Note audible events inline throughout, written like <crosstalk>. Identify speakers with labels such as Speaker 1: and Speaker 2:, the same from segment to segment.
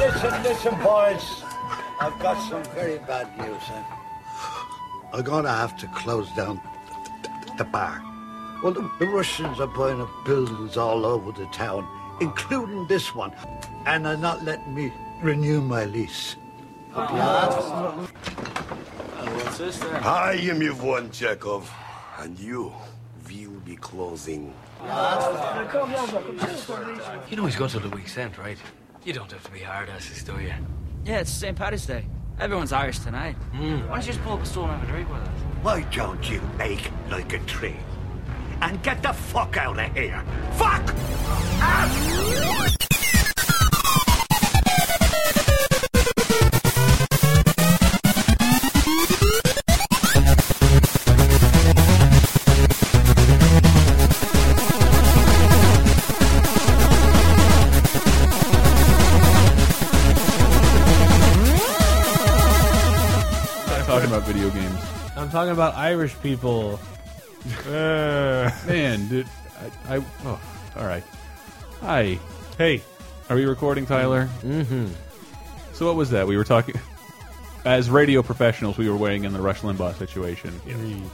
Speaker 1: listen, listen, boys. I've got some very bad news. eh? I'm- I'm going to have to close down th- th- the bar. Well, the, the Russians are buying up buildings all over the town, including this one, and are not letting me renew my lease.
Speaker 2: What's this then?
Speaker 3: I am Yvonne Chekhov, and you will be closing.
Speaker 4: You know he's gone till the week's end, right? You don't have to be hard asses, do you?
Speaker 5: Yeah, it's St. Patrick's Day. Everyone's Irish tonight. Why don't you just pull up a store and have a drink with us?
Speaker 1: Why don't you make like a tree? And get the fuck out of here! Fuck!
Speaker 6: I'm talking about video games.
Speaker 7: I'm talking about Irish
Speaker 6: <laughs>
Speaker 7: people.
Speaker 6: Man, dude, I, I oh, all right. Hi. Hey. Are we recording, Tyler? Mm-hmm. So what was that? We were talking as radio professionals. We were weighing in the Rush Limbaugh situation.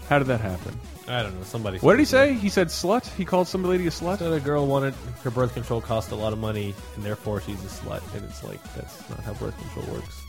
Speaker 6: How did that happen?
Speaker 7: I don't know. Somebody.
Speaker 6: What did he say? He said slut. He called some lady a slut.
Speaker 7: That a girl wanted her birth control cost a lot of money, and therefore she's a slut. And it's like that's not how birth control works.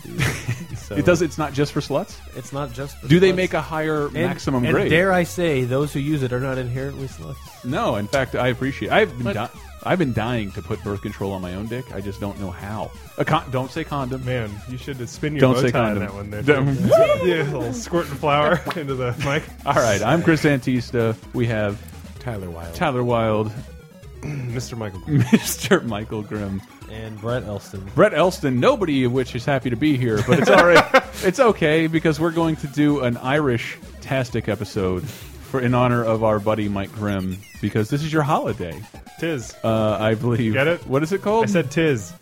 Speaker 6: <laughs>
Speaker 7: dude. so
Speaker 6: It does. It's not just for sluts.
Speaker 7: It's not just. for
Speaker 6: Do they
Speaker 7: sluts.
Speaker 6: make a higher
Speaker 7: And-
Speaker 6: maximum
Speaker 7: and
Speaker 6: grade?
Speaker 7: Dare I say, those who use it are not inherently sluts.
Speaker 6: No, in fact, I appreciate. I've been di I've been dying to put birth control on my own dick. I just don't know how. A con don't say condom.
Speaker 8: Man, you should spin your
Speaker 6: Don't
Speaker 8: bow
Speaker 6: say
Speaker 8: tie on
Speaker 6: condom.
Speaker 8: that one there.
Speaker 6: <laughs> Don't-
Speaker 8: yeah, a little squirting flour <laughs> into the mic.
Speaker 6: All right, I'm Chris Antista. We have
Speaker 8: Tyler Wilde.
Speaker 6: Tyler Wilde, <laughs>
Speaker 8: Mr. Michael.
Speaker 6: Mr. Michael Grimm,
Speaker 7: And Brett Elston.
Speaker 6: Brett Elston. Nobody of which is happy to be here, but it's all
Speaker 8: <laughs>
Speaker 6: right. it's okay because we're going to do an Irish tastic episode for in honor of our buddy Mike Grimm because this is your holiday.
Speaker 8: Tis.
Speaker 6: Uh, I believe.
Speaker 8: Get it?
Speaker 6: What is it called?
Speaker 8: I said tis.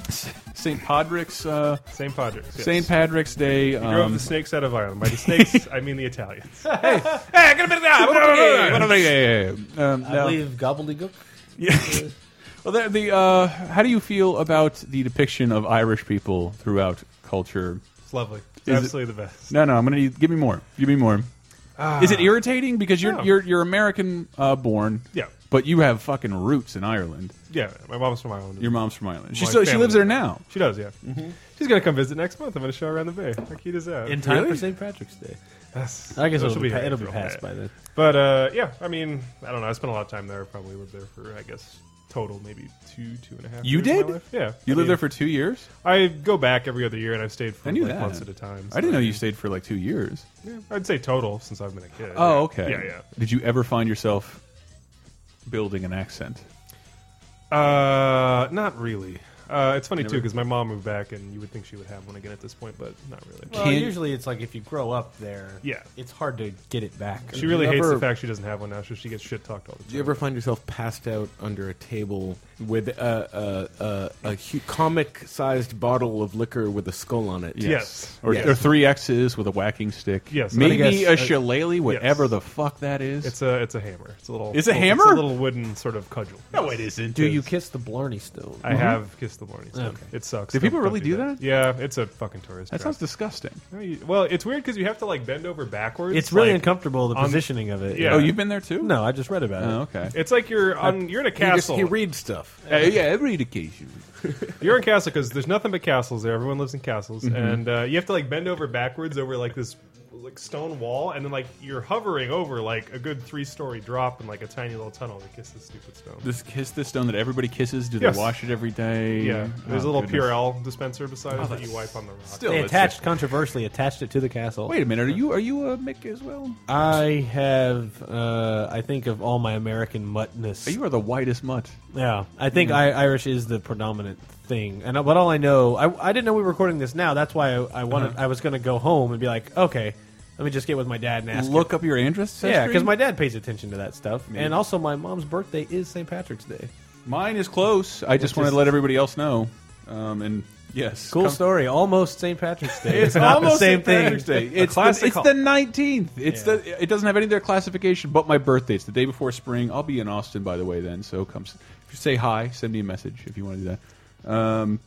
Speaker 6: St. Patrick's. Uh,
Speaker 8: St. Patrick's. Yes.
Speaker 6: St. Patrick's Day.
Speaker 8: You <laughs> drove
Speaker 6: Um,
Speaker 8: the snakes out of Ireland. By
Speaker 6: <laughs>
Speaker 8: the snakes, I mean the Italians.
Speaker 6: um,
Speaker 7: I
Speaker 6: no.
Speaker 7: believe gobbledygook.
Speaker 6: Well, the, the uh, how do you feel about the depiction of Irish people throughout culture?
Speaker 8: It's lovely.
Speaker 6: Is
Speaker 8: It's
Speaker 6: it-
Speaker 8: absolutely the best.
Speaker 6: No, no, I'm gonna give me more. Give me more. Is it irritating because you're
Speaker 8: Ah. No.
Speaker 6: you're you're American uh, born?
Speaker 8: Yeah.
Speaker 6: but you have fucking roots in Ireland.
Speaker 8: Yeah, my mom's from Ireland.
Speaker 6: Your Mm-hmm. mom's from Ireland. She
Speaker 8: My
Speaker 6: so she
Speaker 8: family-
Speaker 6: lives there now.
Speaker 8: She does, yeah. She's going to come visit next month. I'm going to show her around the bay. How cute is that?
Speaker 7: In time for St. Patrick's Day.
Speaker 8: Yes.
Speaker 7: I guess
Speaker 8: So
Speaker 7: it'll,
Speaker 8: she'll
Speaker 7: be,
Speaker 8: here
Speaker 7: it'll be
Speaker 8: for a
Speaker 7: passed
Speaker 8: bit.
Speaker 7: by then.
Speaker 8: But uh, yeah, I mean, I don't know. I spent a lot of time there. I probably lived there for, I guess, total maybe two, two and a half.
Speaker 6: You
Speaker 8: years of my
Speaker 6: did?
Speaker 8: life. Yeah.
Speaker 6: You lived
Speaker 8: I mean,
Speaker 6: there for two years.
Speaker 8: I go back every other year, and I've stayed for
Speaker 6: I knew
Speaker 8: like
Speaker 6: that.
Speaker 8: months at a time.
Speaker 6: I didn't know
Speaker 8: so-
Speaker 6: you stayed for like two years.
Speaker 8: Yeah, I'd say total since I've been a kid.
Speaker 6: Oh, okay.
Speaker 8: Yeah, yeah.
Speaker 6: Did you ever find yourself building an accent?
Speaker 8: Uh, not really. Uh, it's funny too
Speaker 6: Never-
Speaker 8: because my mom moved back, and you would think she would have one again at this point, but not really.
Speaker 7: Well,
Speaker 6: Can-
Speaker 7: usually it's like if you grow up there,
Speaker 8: Yeah.
Speaker 7: it's hard to get it back.
Speaker 8: she really hates
Speaker 9: ever-
Speaker 8: the fact she doesn't have one now, so she gets shit talked all the time.
Speaker 9: Do you ever find yourself passed out under a table with a, a, a, a hu comic-sized bottle of liquor with a skull on it?
Speaker 8: Yes. Yes.
Speaker 6: Or,
Speaker 9: Yes.
Speaker 6: or three X's with a whacking stick.
Speaker 8: Yes.
Speaker 6: Maybe
Speaker 7: I guess-
Speaker 6: a shillelagh, whatever
Speaker 8: yes.
Speaker 6: the fuck that is.
Speaker 8: It's a it's a hammer. It's a little.
Speaker 6: It's a
Speaker 8: little-
Speaker 6: hammer?
Speaker 8: It's a little wooden sort of cudgel.
Speaker 6: no, it isn't.
Speaker 9: Do you kiss the Blarney Stone?
Speaker 8: I have kissed the morning sun. It
Speaker 6: Mm-hmm.
Speaker 8: sucks.
Speaker 6: Do
Speaker 8: Don't-
Speaker 6: people
Speaker 8: don't
Speaker 6: really do that?
Speaker 8: Yeah, it's a fucking tourist.
Speaker 6: That
Speaker 8: trap.
Speaker 6: sounds disgusting.
Speaker 8: No, you- well, it's weird because you have to like bend over backwards.
Speaker 7: It's really
Speaker 8: like-
Speaker 7: uncomfortable, the
Speaker 8: on-
Speaker 7: positioning of it.
Speaker 8: Yeah.
Speaker 6: Oh, you've been there too?
Speaker 7: No, I just read about
Speaker 6: Oh,
Speaker 7: it.
Speaker 6: okay.
Speaker 8: It's like you're on. You're in a
Speaker 9: He, just,
Speaker 8: castle.
Speaker 9: he reads stuff.
Speaker 6: Uh, yeah, every occasion.
Speaker 8: You're in castle because there's nothing but castles there. Everyone lives in castles, and uh, you have to like bend over backwards over like this like stone wall, and then like you're hovering over like a good three story drop in like a tiny little tunnel to kiss this stupid stone.
Speaker 6: This kiss the stone that everybody kisses. Do
Speaker 8: Yes.
Speaker 6: they wash it every day?
Speaker 8: yeah, there's
Speaker 6: Oh,
Speaker 8: a little
Speaker 6: goodness.
Speaker 8: Purell dispenser beside it that you wipe on the rock.
Speaker 6: Still,
Speaker 7: They
Speaker 6: it's
Speaker 7: attached, controversially attached it to the castle.
Speaker 6: a- wait a minute. Are you are you a Mick as well?
Speaker 7: I have, uh, I think of all my American muttness.
Speaker 6: You are the whitest mutt.
Speaker 7: yeah, I think I, Irish is the predominant thing. And uh, but all I know, I, I didn't know we were recording this now. That's why I, I wanted,
Speaker 6: Uh-huh.
Speaker 7: I was going to go home and be like, okay, let me just get with my dad and ask.
Speaker 6: Look
Speaker 7: him.
Speaker 6: up your ancestry.
Speaker 7: yeah, because my dad pays attention to that stuff, and also my mom's birthday is St. Patrick's Day.
Speaker 6: mine is close. I just wanted to let everybody else know. Um, and yes,
Speaker 7: Cool
Speaker 6: come-
Speaker 7: story. Almost St. Patrick's Day.
Speaker 6: <laughs> It's
Speaker 7: not
Speaker 6: almost
Speaker 7: the same
Speaker 6: St. Patrick's
Speaker 7: thing.
Speaker 6: Day. It's the,
Speaker 8: classic
Speaker 6: it's
Speaker 8: call.
Speaker 6: the 19th. It's
Speaker 7: Yeah.
Speaker 6: the it doesn't have any of their classification but my birthday. It's the day before spring. I'll be in Austin by the way then. So come s- if you say hi, send me a message if you want to do that. Um,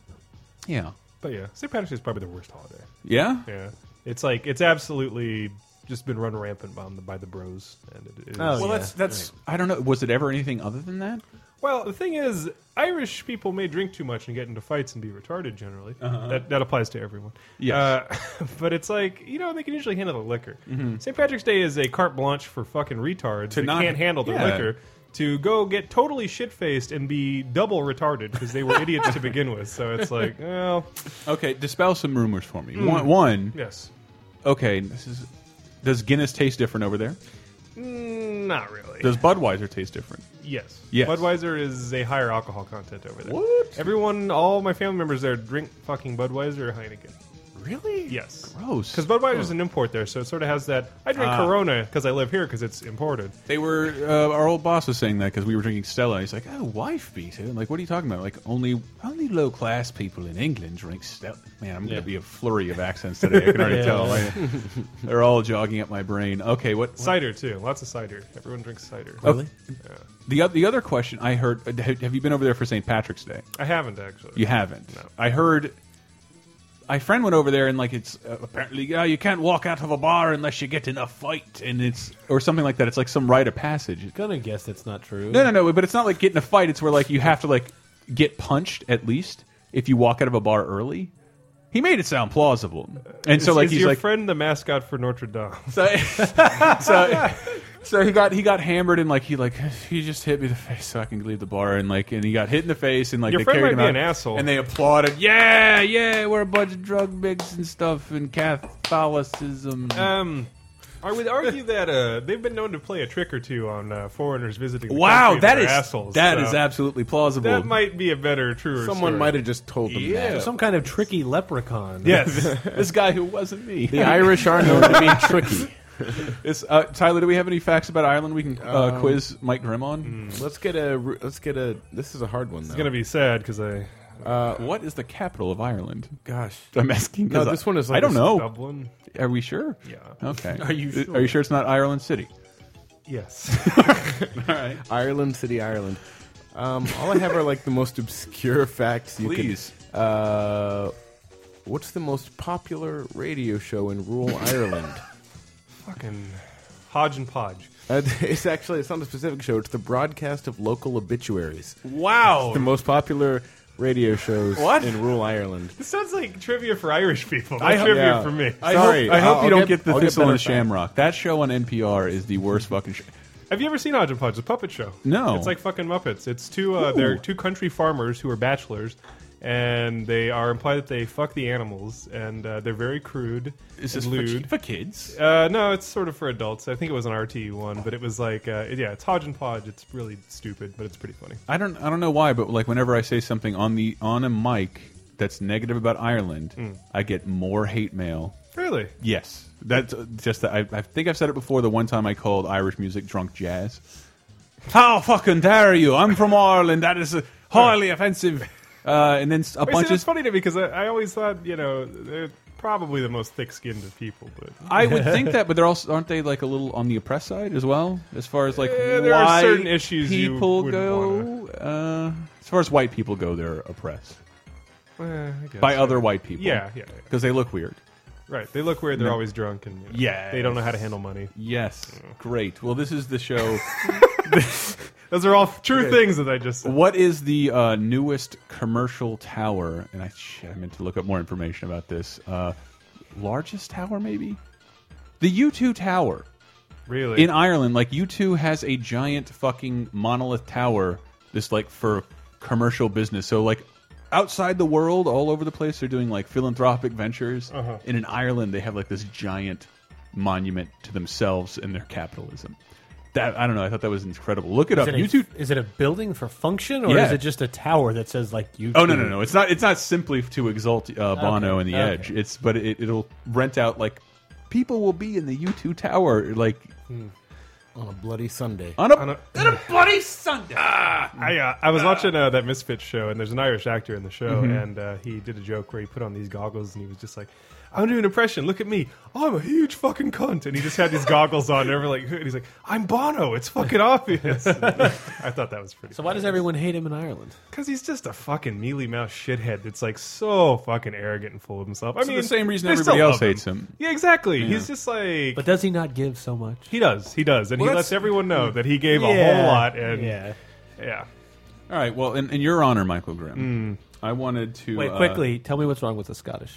Speaker 6: yeah.
Speaker 8: But yeah, St. Patrick's Day is probably the worst holiday.
Speaker 6: Yeah?
Speaker 8: Yeah, it's like it's absolutely just been run rampant by the, by the bros, and it is.
Speaker 6: Well,
Speaker 7: Oh, yeah.
Speaker 6: that's that's. I don't know. Was it ever anything other than that?
Speaker 8: Well, the thing is, Irish people may drink too much and get into fights and be retarded. Generally, that that applies to everyone.
Speaker 6: Uh-huh. Yes.
Speaker 8: uh, <laughs> but it's like you know they can usually handle the liquor. St. Patrick's Day is a carte blanche for fucking
Speaker 6: Mm-hmm.
Speaker 8: retards
Speaker 6: To
Speaker 8: that
Speaker 6: not-
Speaker 8: can't handle their
Speaker 6: yeah.
Speaker 8: liquor. To go get totally shit faced and be double retarded because
Speaker 6: <laughs>
Speaker 8: they were idiots to begin with. So it's like, well,
Speaker 6: Okay, dispel some rumors for me. One, one,
Speaker 8: yes,
Speaker 6: okay, this is. Does Guinness taste different over there?
Speaker 8: Mm, not really.
Speaker 6: Does Budweiser taste different?
Speaker 8: Yes.
Speaker 6: Yes.
Speaker 8: Budweiser is a higher alcohol content over there.
Speaker 6: What?
Speaker 8: Everyone, all my family members there drink fucking Budweiser or Heineken.
Speaker 6: Really?
Speaker 8: Yes.
Speaker 6: Gross.
Speaker 8: Because Budweiser's an import there, so it sort of has that. I drink Corona because I live here because it's imported.
Speaker 6: They were uh, our old boss was saying that because we were drinking Stella. He's like, "Oh, wife beater." I'm like, "What are you talking about? Like only only low class people in England drink Stella." Man, I'm gonna be a flurry of accents today. I can already tell. Like, they're all jogging up my brain. Okay, what? what-
Speaker 8: Cider too. Lots of cider. Everyone drinks cider.
Speaker 6: Really? The oth- the other question I heard: uh, ha- Have you been over there for St. Patrick's Day?
Speaker 8: I haven't actually.
Speaker 6: You haven't. I heard. My friend went over there and like it's uh, apparently uh, you can't walk out of a bar unless you get in a fight and it's or something like that. It's like some rite of passage.
Speaker 7: Gonna guess that's not true.
Speaker 6: No, no, no. But it's not like getting a fight. It's where like you have to like get punched at least if you walk out of a bar early. He made it sound plausible, and so
Speaker 8: Is-
Speaker 6: like
Speaker 8: is
Speaker 6: he's
Speaker 8: your
Speaker 6: like
Speaker 8: friend the mascot for Notre Dame?
Speaker 6: so, <laughs> so so he got he got hammered and like he like he just hit me in the face so I can leave the bar and like and he got hit in the face and like
Speaker 8: Your
Speaker 6: they
Speaker 8: friend
Speaker 6: carried
Speaker 8: might
Speaker 6: him
Speaker 8: be
Speaker 6: out
Speaker 8: an asshole.
Speaker 6: and they applauded yeah yeah we're a bunch of drug bigs and stuff and Catholicism
Speaker 8: <laughs> Um, I would argue that uh, they've been known to play a trick or two on uh, foreigners visiting. The
Speaker 6: wow
Speaker 8: country
Speaker 6: that
Speaker 8: and
Speaker 6: is
Speaker 8: they're assholes.
Speaker 6: that
Speaker 8: so
Speaker 6: is absolutely plausible <laughs>
Speaker 8: That might be a better, truer.
Speaker 9: Someone
Speaker 8: story. <laughs>
Speaker 9: might have just told them
Speaker 6: Yeah.
Speaker 9: that.
Speaker 7: Some kind of tricky leprechaun.
Speaker 8: Yes.
Speaker 6: this guy who wasn't me
Speaker 9: The Irish are known
Speaker 8: <laughs>
Speaker 9: to be tricky.
Speaker 6: It's, uh, Tyler, do we have any facts about Ireland we can uh,
Speaker 9: Um,
Speaker 6: quiz Mike Grimm on?
Speaker 9: Let's get a. ru- Let's get a. This is a hard one. Though.
Speaker 8: It's gonna be sad because I
Speaker 6: what is the capital of Ireland?
Speaker 9: gosh.
Speaker 6: I'm asking. 'cause
Speaker 9: No, this
Speaker 6: I-
Speaker 9: one is like
Speaker 6: I don't
Speaker 9: a
Speaker 8: Oh.
Speaker 6: know.
Speaker 8: Dublin.
Speaker 6: Are we sure?
Speaker 8: Yeah.
Speaker 6: Okay.
Speaker 9: Are you
Speaker 6: Uh,
Speaker 9: sure?
Speaker 6: Are you sure it's not Ireland City?
Speaker 8: Yes.
Speaker 6: All right.
Speaker 9: Ireland City, Ireland. Um, all I have are like the most obscure facts. You
Speaker 6: Please.
Speaker 9: Could, uh, what's the most popular radio show in rural Ireland?
Speaker 8: <laughs> Fucking Hodge and Podge.
Speaker 9: <laughs> Uh, it's actually it's not a specific show. It's the broadcast of local obituaries.
Speaker 8: Wow.
Speaker 9: The most popular radio shows
Speaker 6: What?
Speaker 9: in rural Ireland.
Speaker 8: This sounds like trivia for Irish people. Not
Speaker 9: I hope-
Speaker 8: trivia
Speaker 9: yeah.
Speaker 8: for me.
Speaker 9: I
Speaker 6: Sorry,
Speaker 9: hope-
Speaker 6: I hope
Speaker 9: I'll-
Speaker 6: you don't
Speaker 9: I'll
Speaker 6: get,
Speaker 9: get-
Speaker 6: the
Speaker 9: I'll get
Speaker 6: Thistle and
Speaker 9: better facts.
Speaker 6: Shamrock. That show on NPR is the worst fucking show.
Speaker 8: Have you ever seen Hodge and Podge, the puppet show?
Speaker 6: No.
Speaker 8: It's like fucking Muppets. It's two uh,
Speaker 6: Ooh.
Speaker 8: they're two country farmers who are bachelors, and they are implied that they fuck the animals, and uh, they're very crude
Speaker 6: Is
Speaker 8: and
Speaker 6: this
Speaker 8: lewd.
Speaker 6: for, for kids?
Speaker 8: uh, no, it's sort of for adults. I think it was an RTE one, but it was like, uh, yeah, it's Hodge and Podge. It's really stupid, but it's pretty funny.
Speaker 6: I don't. I don't know why, but like whenever I say something on the on a mic that's negative about Ireland, I get more hate mail
Speaker 8: Really?
Speaker 6: Yes, that's uh, just that. I, I think I've said it before. The one time I called Irish music drunk jazz. How fucking dare you? I'm from Ireland. That is uh, highly offensive. Uh, and then s- a
Speaker 8: Wait,
Speaker 6: bunch
Speaker 8: see,
Speaker 6: of
Speaker 8: that's funny to me because I, I always thought, you know, they're probably the most thick-skinned of people, but
Speaker 6: I
Speaker 8: <laughs>
Speaker 6: would think that, but they're also aren't they like a little on the oppressed side as well, as far as like
Speaker 8: Eh, there are
Speaker 6: why
Speaker 8: certain issues you
Speaker 6: people
Speaker 8: wouldn't
Speaker 6: go. Uh, as far as white people go, they're oppressed
Speaker 8: eh, I guess.
Speaker 6: by other white people.
Speaker 8: Yeah, yeah, yeah.
Speaker 6: because they look weird.
Speaker 8: Right. They look weird. They're always drunk, and you know,
Speaker 6: Yes.
Speaker 8: they don't know how to handle money.
Speaker 6: Yes, great. Well, this is the show.
Speaker 8: Those are all true things that I just said.
Speaker 6: What is the uh, newest commercial tower? And I, shit, I meant to look up more information about this. Uh, largest tower, maybe? The U2 Tower
Speaker 8: Really?
Speaker 6: in Ireland. Like, U2 has a giant fucking monolith tower, this, like, for commercial business. So, like, outside the world, all over the place, they're doing, like, philanthropic ventures.
Speaker 7: Uh-huh.
Speaker 6: And in Ireland, they have, like, this giant monument to themselves and their capitalism. That, I don't know. I thought that was incredible. Look it
Speaker 7: Is
Speaker 6: up.
Speaker 7: it,
Speaker 6: U2
Speaker 7: a, is it a building for function, or
Speaker 6: Yeah.
Speaker 7: is it just a tower that says like you?
Speaker 6: Oh no no no! It's not. It's not simply to exalt uh, Bono and the
Speaker 7: okay.
Speaker 6: Edge. It's but it, it'll rent out like people will be in the U two tower. Like
Speaker 9: on a bloody Sunday.
Speaker 6: On a,
Speaker 8: On a-
Speaker 5: Good a bloody Sunday.
Speaker 8: I, uh, I was watching uh, that Misfits show, and there's an Irish actor in the show,
Speaker 6: Mm-hmm.
Speaker 8: and uh, he did a joke where he put on these goggles, and he was just like, "I'm doing an impression. Look at me. I'm a huge fucking cunt." And he
Speaker 6: <laughs>
Speaker 8: just had these goggles on, and everyone like, and he's like, "I'm Bono. It's
Speaker 6: <laughs>
Speaker 8: fucking obvious." And I thought that was pretty.
Speaker 7: So why does everyone hate him in Ireland?
Speaker 8: Because he's just a fucking mealy mouthed shithead that's like so fucking arrogant and full of himself. I
Speaker 6: the
Speaker 8: mean,
Speaker 6: same reason
Speaker 8: they
Speaker 6: everybody
Speaker 8: still
Speaker 6: else
Speaker 8: love him.
Speaker 6: hates him.
Speaker 8: Yeah, exactly. He's just like.
Speaker 7: But does he not give so much?
Speaker 8: he does, he does, and
Speaker 6: Well,
Speaker 8: he
Speaker 6: that's-
Speaker 8: lets everyone know that he gave a whole lot, and yeah,
Speaker 7: yeah.
Speaker 6: All right. Well, in, in your honor, Michael Grimm,
Speaker 8: Mm.
Speaker 6: I wanted to
Speaker 7: Wait,
Speaker 6: uh,
Speaker 7: quickly, tell me what's wrong with the Scottish.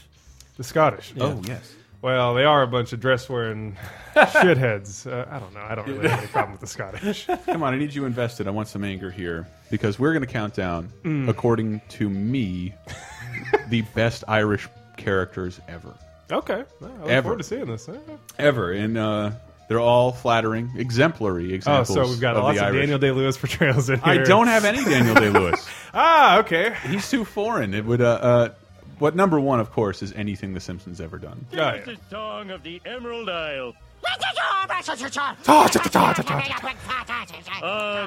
Speaker 8: the Scottish.
Speaker 6: Oh yes.
Speaker 8: Well, they are a bunch of dress <laughs> wearing shitheads. Uh, I don't know. I don't really have any problem with the Scottish.
Speaker 6: Come on, I need you invested. I want some anger here because we're going to count down,
Speaker 8: Mm.
Speaker 6: according to
Speaker 8: <laughs>
Speaker 6: me, the best Irish characters ever.
Speaker 8: <laughs> Okay. Well, I look
Speaker 6: Ever.
Speaker 8: forward to seeing this. Uh,
Speaker 6: Ever. And uh, they're all flattering, exemplary
Speaker 8: Oh,
Speaker 6: examples.
Speaker 8: so we've got
Speaker 6: of
Speaker 8: lots
Speaker 6: the
Speaker 8: of
Speaker 6: Irish.
Speaker 8: Daniel Day Lewis portrayals in
Speaker 6: I
Speaker 8: here.
Speaker 6: don't have any
Speaker 8: <laughs>
Speaker 6: Daniel Day Lewis.
Speaker 8: Ah, okay. <laughs>
Speaker 6: He's too foreign. It would. Uh, uh, what number one, of course, is anything The Simpsons ever done.
Speaker 8: Yeah, yeah.
Speaker 10: Song of the Emerald Isle. Oh,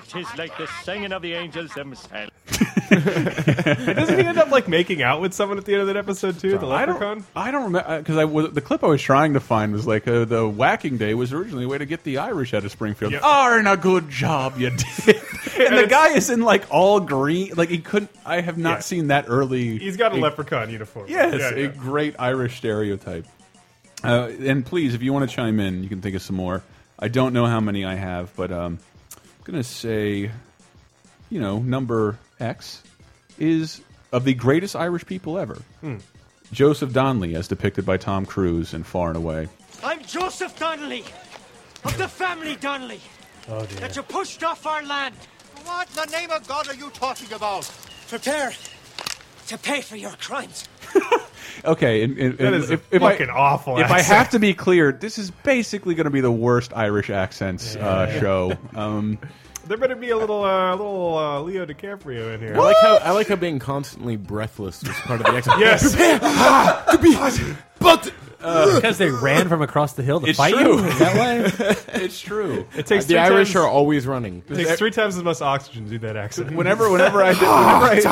Speaker 10: tis like the singing of the angels themselves.
Speaker 8: Doesn't he end up like making out with someone at the end of that episode too? The leprechaun.
Speaker 6: I don't remember because I was the clip I was trying to find was like uh, the whacking day was originally a way to get the Irish out of Springfield.
Speaker 8: Yep.
Speaker 6: Aren't a good job you did. <laughs> and the
Speaker 8: it's-
Speaker 6: guy is in like all green, like he couldn't. I have not
Speaker 8: Yeah.
Speaker 6: seen that early.
Speaker 8: He's got a leprechaun uniform.
Speaker 6: Yes,
Speaker 8: Yeah,
Speaker 6: a
Speaker 8: yeah.
Speaker 6: great Irish stereotype. Uh, and please, if you want to chime in, you can think of some more. I don't know how many I have, but um, I'm gonna say, you know, number X is of the greatest Irish people ever.
Speaker 8: Hmm.
Speaker 6: Joseph Donnelly, as depicted by Tom Cruise in Far and Away.
Speaker 10: I'm Joseph Donnelly of the family Donnelly.
Speaker 8: Oh,
Speaker 10: That you pushed off our land. What in the name of God are you talking about? Prepare to pay for your crimes.
Speaker 6: Okay, and, and-
Speaker 8: That
Speaker 6: and
Speaker 8: is
Speaker 6: if,
Speaker 8: a
Speaker 6: if I-
Speaker 8: fucking awful.
Speaker 6: If I
Speaker 8: accent.
Speaker 6: have to be clear, this is basically going to be the worst Irish accents uh,
Speaker 8: <laughs>
Speaker 6: show. Um,
Speaker 8: there better be a little, uh, little uh, Leo DiCaprio in here.
Speaker 9: I like how I like how being constantly breathless was
Speaker 8: <laughs>
Speaker 9: part of the exercise.
Speaker 8: Yes.
Speaker 6: <laughs>
Speaker 9: but
Speaker 7: Because they ran from across the hill to
Speaker 6: It's
Speaker 7: fight
Speaker 6: true.
Speaker 7: you that way.
Speaker 6: it's true.
Speaker 8: It takes
Speaker 9: the
Speaker 8: three
Speaker 9: Irish
Speaker 8: times,
Speaker 9: are always running.
Speaker 8: It <laughs> takes three times as much oxygen to do that accent.
Speaker 6: Whenever, whenever
Speaker 8: <laughs>
Speaker 6: I, whenever,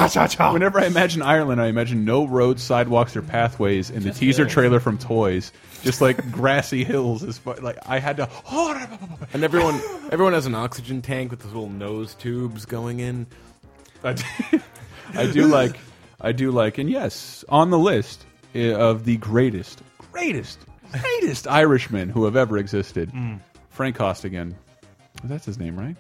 Speaker 6: I
Speaker 9: Ah.
Speaker 6: whenever I imagine Ireland, I imagine no roads, sidewalks, or pathways, and the teaser trailer from Toys, just like <laughs> grassy hills. Is fu- like I had to. <laughs>
Speaker 9: And everyone everyone has an oxygen tank with those little nose tubes going in.
Speaker 6: I do- I do like, I do like, and yes, on the list eh, of the greatest, greatest, greatest Irishmen who have ever existed,
Speaker 8: Hmm.
Speaker 6: Frank Costigan. That's his name, right?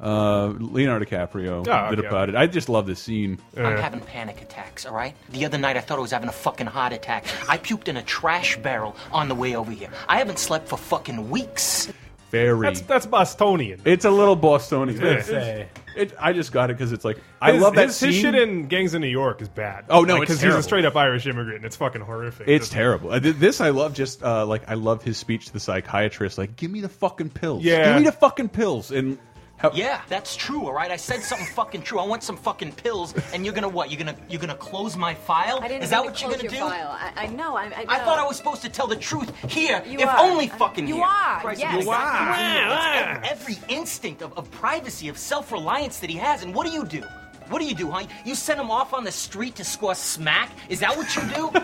Speaker 6: Uh, Leonardo DiCaprio
Speaker 8: Oh,
Speaker 6: did
Speaker 8: Hmm. okay,
Speaker 6: about it. I just love this scene.
Speaker 11: I'm having panic attacks, all right? The other night I thought I was having a fucking heart attack. I puked in a trash barrel on the way over here. I haven't slept for fucking weeks.
Speaker 6: Very.
Speaker 8: that's that's Bostonian.
Speaker 6: It's a little Bostonian. It's-
Speaker 7: Say.
Speaker 6: It, I just got it because it's like I
Speaker 8: His-
Speaker 6: love that
Speaker 8: his,
Speaker 6: scene.
Speaker 8: his shit in Gangs of New York is bad.
Speaker 6: Oh, no, it's
Speaker 8: because he's
Speaker 6: terrible.
Speaker 8: a straight up Irish immigrant, and it's fucking horrific.
Speaker 6: it's terrible. Uh, th- This I love. Just uh, like I love his speech to the psychiatrist. Like, give me the fucking pills.
Speaker 8: Yeah.
Speaker 6: give me the fucking pills. And how,
Speaker 11: Yeah, that's true, all right? I said something fucking true. I want some fucking pills, and you're gonna what? You're gonna you're gonna close my file?
Speaker 10: I didn't
Speaker 11: Is
Speaker 10: mean
Speaker 11: that
Speaker 10: to
Speaker 11: what you're
Speaker 10: close your
Speaker 11: gonna do?
Speaker 10: File. I, I know. I, I, know.
Speaker 11: I thought I was supposed to tell the truth here,
Speaker 10: You
Speaker 11: if
Speaker 10: are.
Speaker 11: only
Speaker 10: I-
Speaker 11: fucking
Speaker 10: you
Speaker 11: here.
Speaker 10: are,
Speaker 11: Christ,
Speaker 10: yes.
Speaker 11: it's
Speaker 10: You
Speaker 11: exactly
Speaker 10: are.
Speaker 11: what he did. It's ev- every instinct of, of privacy, of self-reliance that he has, and what do you do? What do you do, huh? You send him off on the street to score smack? Is that what you do? <laughs>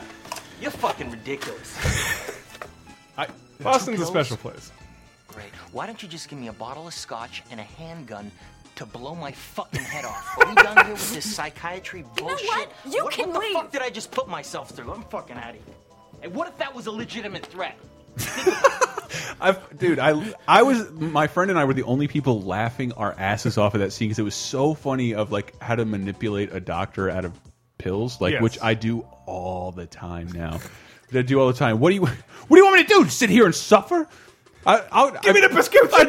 Speaker 11: You're fucking ridiculous.
Speaker 8: Boston's a
Speaker 11: Pills.
Speaker 8: special place.
Speaker 11: Great. Why don't you just give me a bottle of scotch and a handgun to blow my fucking head off? Are we done here with this psychiatry
Speaker 10: know
Speaker 11: bullshit?
Speaker 10: what? You
Speaker 11: what,
Speaker 10: can
Speaker 11: what the
Speaker 10: leave.
Speaker 11: fuck did I just put myself through? I'm fucking out of here. And what if that was a legitimate threat?
Speaker 6: I've, dude, I I was my friend and I were the only people laughing our asses off at that scene because it was so funny of like how to manipulate a doctor out of pills, like
Speaker 8: Yes.
Speaker 6: which I do all the time now. I do all the time. What do you What do you want me to do? Sit here and suffer? I, I'll, Give
Speaker 8: me the prescription, doc.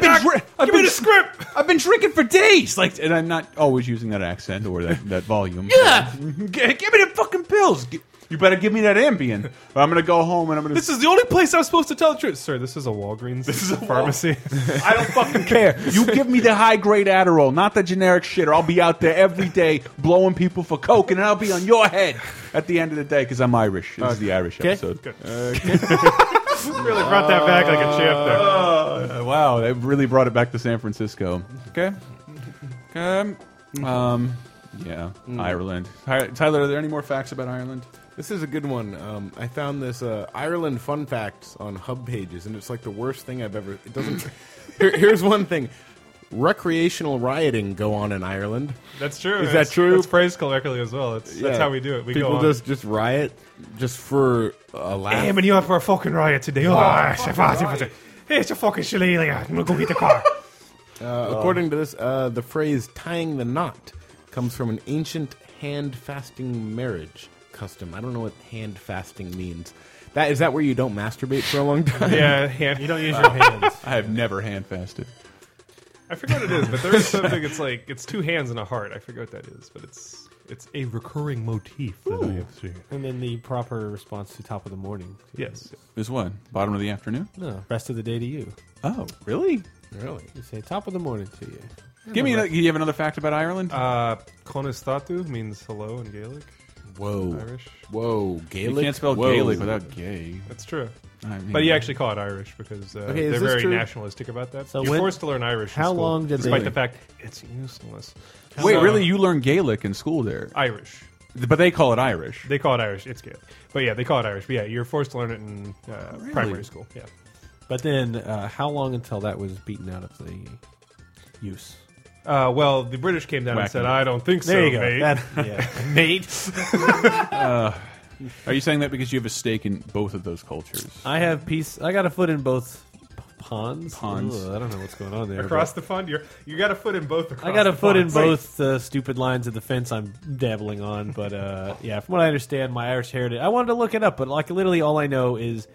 Speaker 8: Give me the script.
Speaker 6: I've been drinking for days, like, and I'm not always using that accent or that, that volume. G- give me the fucking pills. G- You better give me that Ambien, or I'm gonna go home and I'm gonna.
Speaker 8: This is the only place I'm supposed to tell the truth, sir. This is a Walgreens. This is a pharmacy. <laughs>
Speaker 6: I don't fucking care. <laughs> You give me the high grade Adderall, not the generic shit, or I'll be out there every day blowing people for coke, and I'll be on your head at the end of the day because I'm Irish. This is the Irish
Speaker 8: Okay.
Speaker 6: episode.
Speaker 8: Good. Really brought that back like a champ there.
Speaker 6: Uh, wow, they really brought it back to San Francisco. Okay. Um, um, yeah,
Speaker 9: Mm.
Speaker 6: Ireland. Ty- Tyler, are there any more facts about Ireland?
Speaker 9: This is a good one. Um, I found this uh, Ireland fun facts on hub pages, and it's like the worst thing I've ever. It doesn't. <laughs> Here, here's one thing: recreational rioting go on in Ireland.
Speaker 8: That's true.
Speaker 9: Is
Speaker 8: That's-
Speaker 9: that true?
Speaker 8: that's praise colloquially as well. That's- that's how we do it. We
Speaker 9: people
Speaker 8: go on.
Speaker 9: just just riot just for a laugh.
Speaker 8: Hey, man, you have for a fucking riot today. Oh,
Speaker 9: Yeah.
Speaker 8: it's a fucking riot. Here's your fucking shillelagh. I'm gonna go get the car.
Speaker 9: Uh, according to this, uh, the phrase tying the knot comes from an ancient hand fasting marriage custom. I don't know what hand fasting means. That is that where you don't masturbate for
Speaker 8: <laughs>
Speaker 9: a long time?
Speaker 8: Yeah, hand- You don't use your hands.
Speaker 6: I have never hand fasted.
Speaker 8: I forget what it is, but there is something. It's like it's two hands and a heart. I forget what that is, but it's it's a recurring motif that I have seen.
Speaker 7: And then the proper response to top of the morning.
Speaker 8: Yes.
Speaker 6: Is one bottom of the afternoon?
Speaker 7: No, rest of the day to you.
Speaker 6: Oh, really?
Speaker 9: Really?
Speaker 7: You say top of the morning to you.
Speaker 6: Give me. another- You have another fact about Ireland?
Speaker 8: Uh, Conestatu means hello in Gaelic.
Speaker 9: Whoa.
Speaker 8: Irish.
Speaker 9: Whoa, Gaelic.
Speaker 6: You can't spell
Speaker 9: Whoa.
Speaker 6: Gaelic without gay.
Speaker 8: That's true.
Speaker 6: I mean-
Speaker 8: but you actually call it Irish because uh,
Speaker 9: Okay, is
Speaker 8: they're
Speaker 9: this
Speaker 8: very
Speaker 9: true?
Speaker 8: nationalistic about that.
Speaker 9: So
Speaker 8: You're
Speaker 9: when-
Speaker 8: forced to learn Irish. in
Speaker 9: how
Speaker 8: school,
Speaker 9: long did
Speaker 8: despite
Speaker 9: they-
Speaker 8: the fact it's useless.
Speaker 6: Wait,
Speaker 8: So-
Speaker 6: really? You learn Gaelic in school there?
Speaker 8: Irish.
Speaker 6: But they call it Irish.
Speaker 8: They call it Irish. It's Gaelic. But yeah, they call it Irish. But yeah, you're forced to learn it in uh, primary school. Yeah.
Speaker 7: But then, uh, how long until that was beaten out of the use?
Speaker 8: Uh, well, the British came down and
Speaker 7: Whack
Speaker 8: said,
Speaker 7: it.
Speaker 8: "I don't think
Speaker 7: There
Speaker 8: so,
Speaker 7: you go.
Speaker 8: mate." <laughs>
Speaker 7: That- yeah. Mate.
Speaker 6: Uh, are you saying that because you have a stake in both of those cultures?
Speaker 7: I have peace. I got a foot in both p- ponds.
Speaker 6: Ponds.
Speaker 7: Ugh, I don't know what's going on there.
Speaker 8: across the pond, you're you got a foot in both.
Speaker 7: but
Speaker 8: Across
Speaker 7: I got a
Speaker 8: the
Speaker 7: foot in
Speaker 8: pond. Right.
Speaker 7: both uh, stupid lines of the fence I'm dabbling on, but uh, yeah, from what I understand, my Irish heritage. I wanted to look it up, but like literally all I know is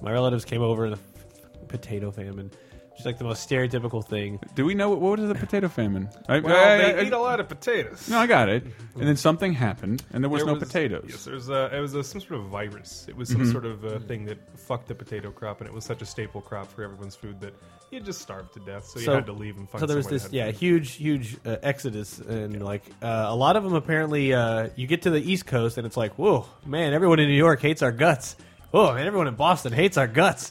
Speaker 7: my relatives came over in the f- potato famine, which is like the most stereotypical thing.
Speaker 6: Do we know what, what was the potato famine? I,
Speaker 8: Well,
Speaker 6: I-
Speaker 8: they
Speaker 6: I-
Speaker 8: eat a lot of potatoes.
Speaker 6: No, I got it. And then something happened, and there was
Speaker 8: There
Speaker 6: no potatoes.
Speaker 8: Yes, there was a, it was a, some sort of virus. It was some
Speaker 6: Mhm.
Speaker 8: sort of uh, thing that fucked the potato crop, and it was such a staple crop for everyone's food that you just starved to death. So, you had to leave and find.
Speaker 7: so there was
Speaker 8: somewhere
Speaker 7: this
Speaker 8: that
Speaker 7: yeah
Speaker 8: had
Speaker 7: huge huge uh, exodus and like uh, a lot of them apparently uh, you get to the east coast and it's like whoa man everyone in new york hates our guts oh man everyone in boston hates our
Speaker 8: <coughs>
Speaker 7: guts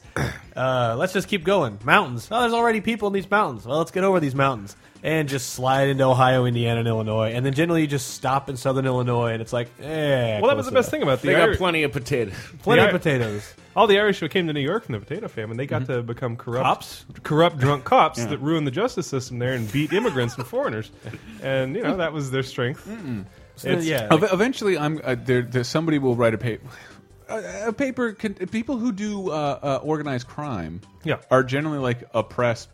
Speaker 7: uh, let's just keep going mountains oh there's already people in these mountains well let's get over these mountains and just slide into ohio indiana and illinois and then generally you just stop in southern illinois and it's like eh,
Speaker 8: Well, that was
Speaker 7: close
Speaker 8: the best
Speaker 7: enough.
Speaker 8: thing about the
Speaker 9: They got
Speaker 8: Irish-
Speaker 9: plenty of potatoes.
Speaker 7: plenty
Speaker 8: The
Speaker 7: of
Speaker 8: Ir-
Speaker 7: potatoes
Speaker 8: All the Irish who came to New York from the potato famine, they got
Speaker 7: Mm-hmm.
Speaker 8: to become corrupt, corrupt drunk <laughs> cops
Speaker 6: Yeah.
Speaker 8: that ruined the justice system there and beat immigrants and foreigners, and you know that was their strength. It's-
Speaker 6: Ev- eventually, I'm uh, there, there. Somebody will write a paper. A, a paper. Can, people who do uh, uh, organized crime,
Speaker 8: Yeah.
Speaker 6: are generally like oppressed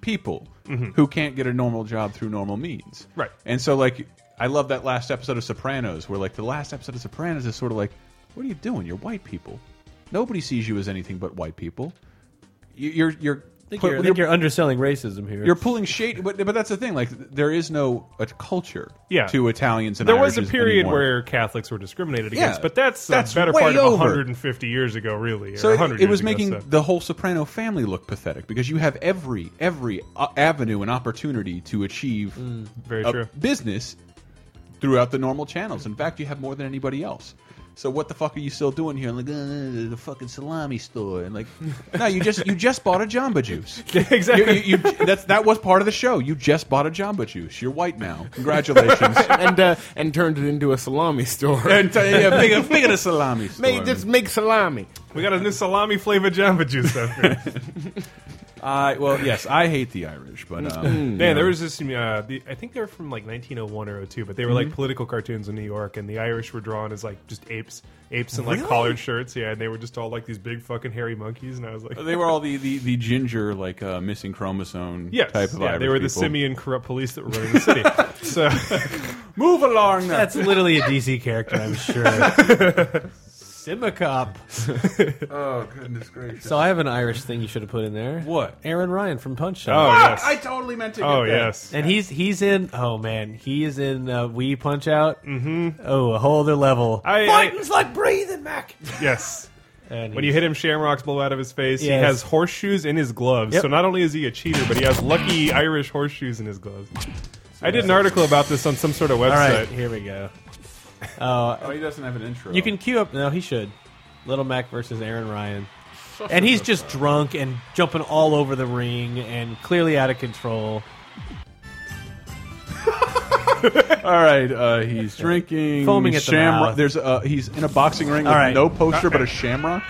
Speaker 6: people
Speaker 8: Mhm.
Speaker 6: who can't get a normal job through normal means.
Speaker 8: Right.
Speaker 6: And so, like, I love that last episode of Sopranos, where like the last episode of Sopranos is sort of like, "What are you doing? You're white people. Nobody sees you as anything but white people. You, you're you're."
Speaker 7: I think, you're, I think you're underselling racism here.
Speaker 6: You're pulling shade, but, but that's the thing. Like, there is no a culture
Speaker 8: Yeah.
Speaker 6: to Italians and
Speaker 8: there was a
Speaker 6: Irishes
Speaker 8: period
Speaker 6: anymore.
Speaker 8: where Catholics were discriminated
Speaker 6: Yeah,
Speaker 8: against, but that's,
Speaker 6: that's
Speaker 8: a better
Speaker 6: way
Speaker 8: part of
Speaker 6: over.
Speaker 8: 150 years ago, really.
Speaker 6: So
Speaker 8: or
Speaker 6: it-
Speaker 8: 100
Speaker 6: it, was
Speaker 8: years ago,
Speaker 6: making
Speaker 8: so.
Speaker 6: the whole Soprano family look pathetic because you have every every uh, avenue and opportunity to achieve
Speaker 8: very
Speaker 6: a
Speaker 8: true.
Speaker 6: business throughout the normal channels. In fact, you have more than anybody else. So what the fuck are you still doing here? Like uh, the fucking salami store, and like no, you just you just bought a Jamba Juice.
Speaker 8: exactly.
Speaker 6: You, you, you, that's that was part of the show. You just bought a Jamba Juice. You're white now. Congratulations.
Speaker 9: and uh, and turned it into a
Speaker 8: <laughs>
Speaker 9: salami store.
Speaker 6: and uh, yeah,
Speaker 9: <laughs>
Speaker 6: bigger bigger salami store.
Speaker 9: Make, just make salami.
Speaker 8: We got a new salami flavored Jamba
Speaker 6: <laughs>
Speaker 8: Juice after.
Speaker 6: I well, yes, I hate the Irish, but um,
Speaker 8: Man, there was this. Uh, the, I think they're from like 1901 or 02, but they were
Speaker 6: Mhm.
Speaker 8: like political cartoons in New York, and the Irish were drawn as like just apes, apes in like
Speaker 6: Really?
Speaker 8: collared shirts. Yeah, and they were just all like these big fucking hairy monkeys, and I was like,
Speaker 6: they were all the the, the ginger like uh, missing chromosome
Speaker 8: Yes,
Speaker 6: type of
Speaker 8: yeah,
Speaker 6: Irish
Speaker 8: they were the
Speaker 6: people.
Speaker 8: simian corrupt police that were running the
Speaker 6: <laughs>
Speaker 8: city. so
Speaker 6: Move along. Now.
Speaker 7: <laughs> That's literally a DC character, I'm sure.
Speaker 8: <laughs>
Speaker 7: Simicop.
Speaker 12: Oh, goodness gracious.
Speaker 7: So I have an Irish thing you should have put in there. What? Aaron Ryan from Punch Out.
Speaker 12: Oh, Fuck! yes. I totally meant to get
Speaker 7: Oh
Speaker 12: that.
Speaker 7: yes. And he's he's in. Oh man, he is in. Uh, we Punch Out. Mm-hmm. Oh, a whole other level.
Speaker 8: I-
Speaker 12: Fighting's like breathing, Mac.
Speaker 8: Yes.
Speaker 7: And
Speaker 8: when you hit him, shamrocks blow out of his face. He
Speaker 7: Yes.
Speaker 8: has horseshoes in his gloves.
Speaker 7: Yep.
Speaker 8: So not only is he a cheater, but he has lucky Irish horseshoes in his gloves. I did an article about this on some sort of
Speaker 7: All
Speaker 8: website.
Speaker 7: right, here we go. Uh,
Speaker 12: Oh, he doesn't have an intro.
Speaker 7: You can queue up. No, he should. Little Mac versus Aaron Ryan. And he's just drunk and jumping all over the ring and clearly out of control.
Speaker 6: All right, uh, he's drinking.
Speaker 7: Foaming at the
Speaker 6: shamrock.
Speaker 7: mouth.
Speaker 6: There's uh, he's in a boxing ring
Speaker 7: All
Speaker 6: with
Speaker 7: right.
Speaker 6: no poster but a shamrock.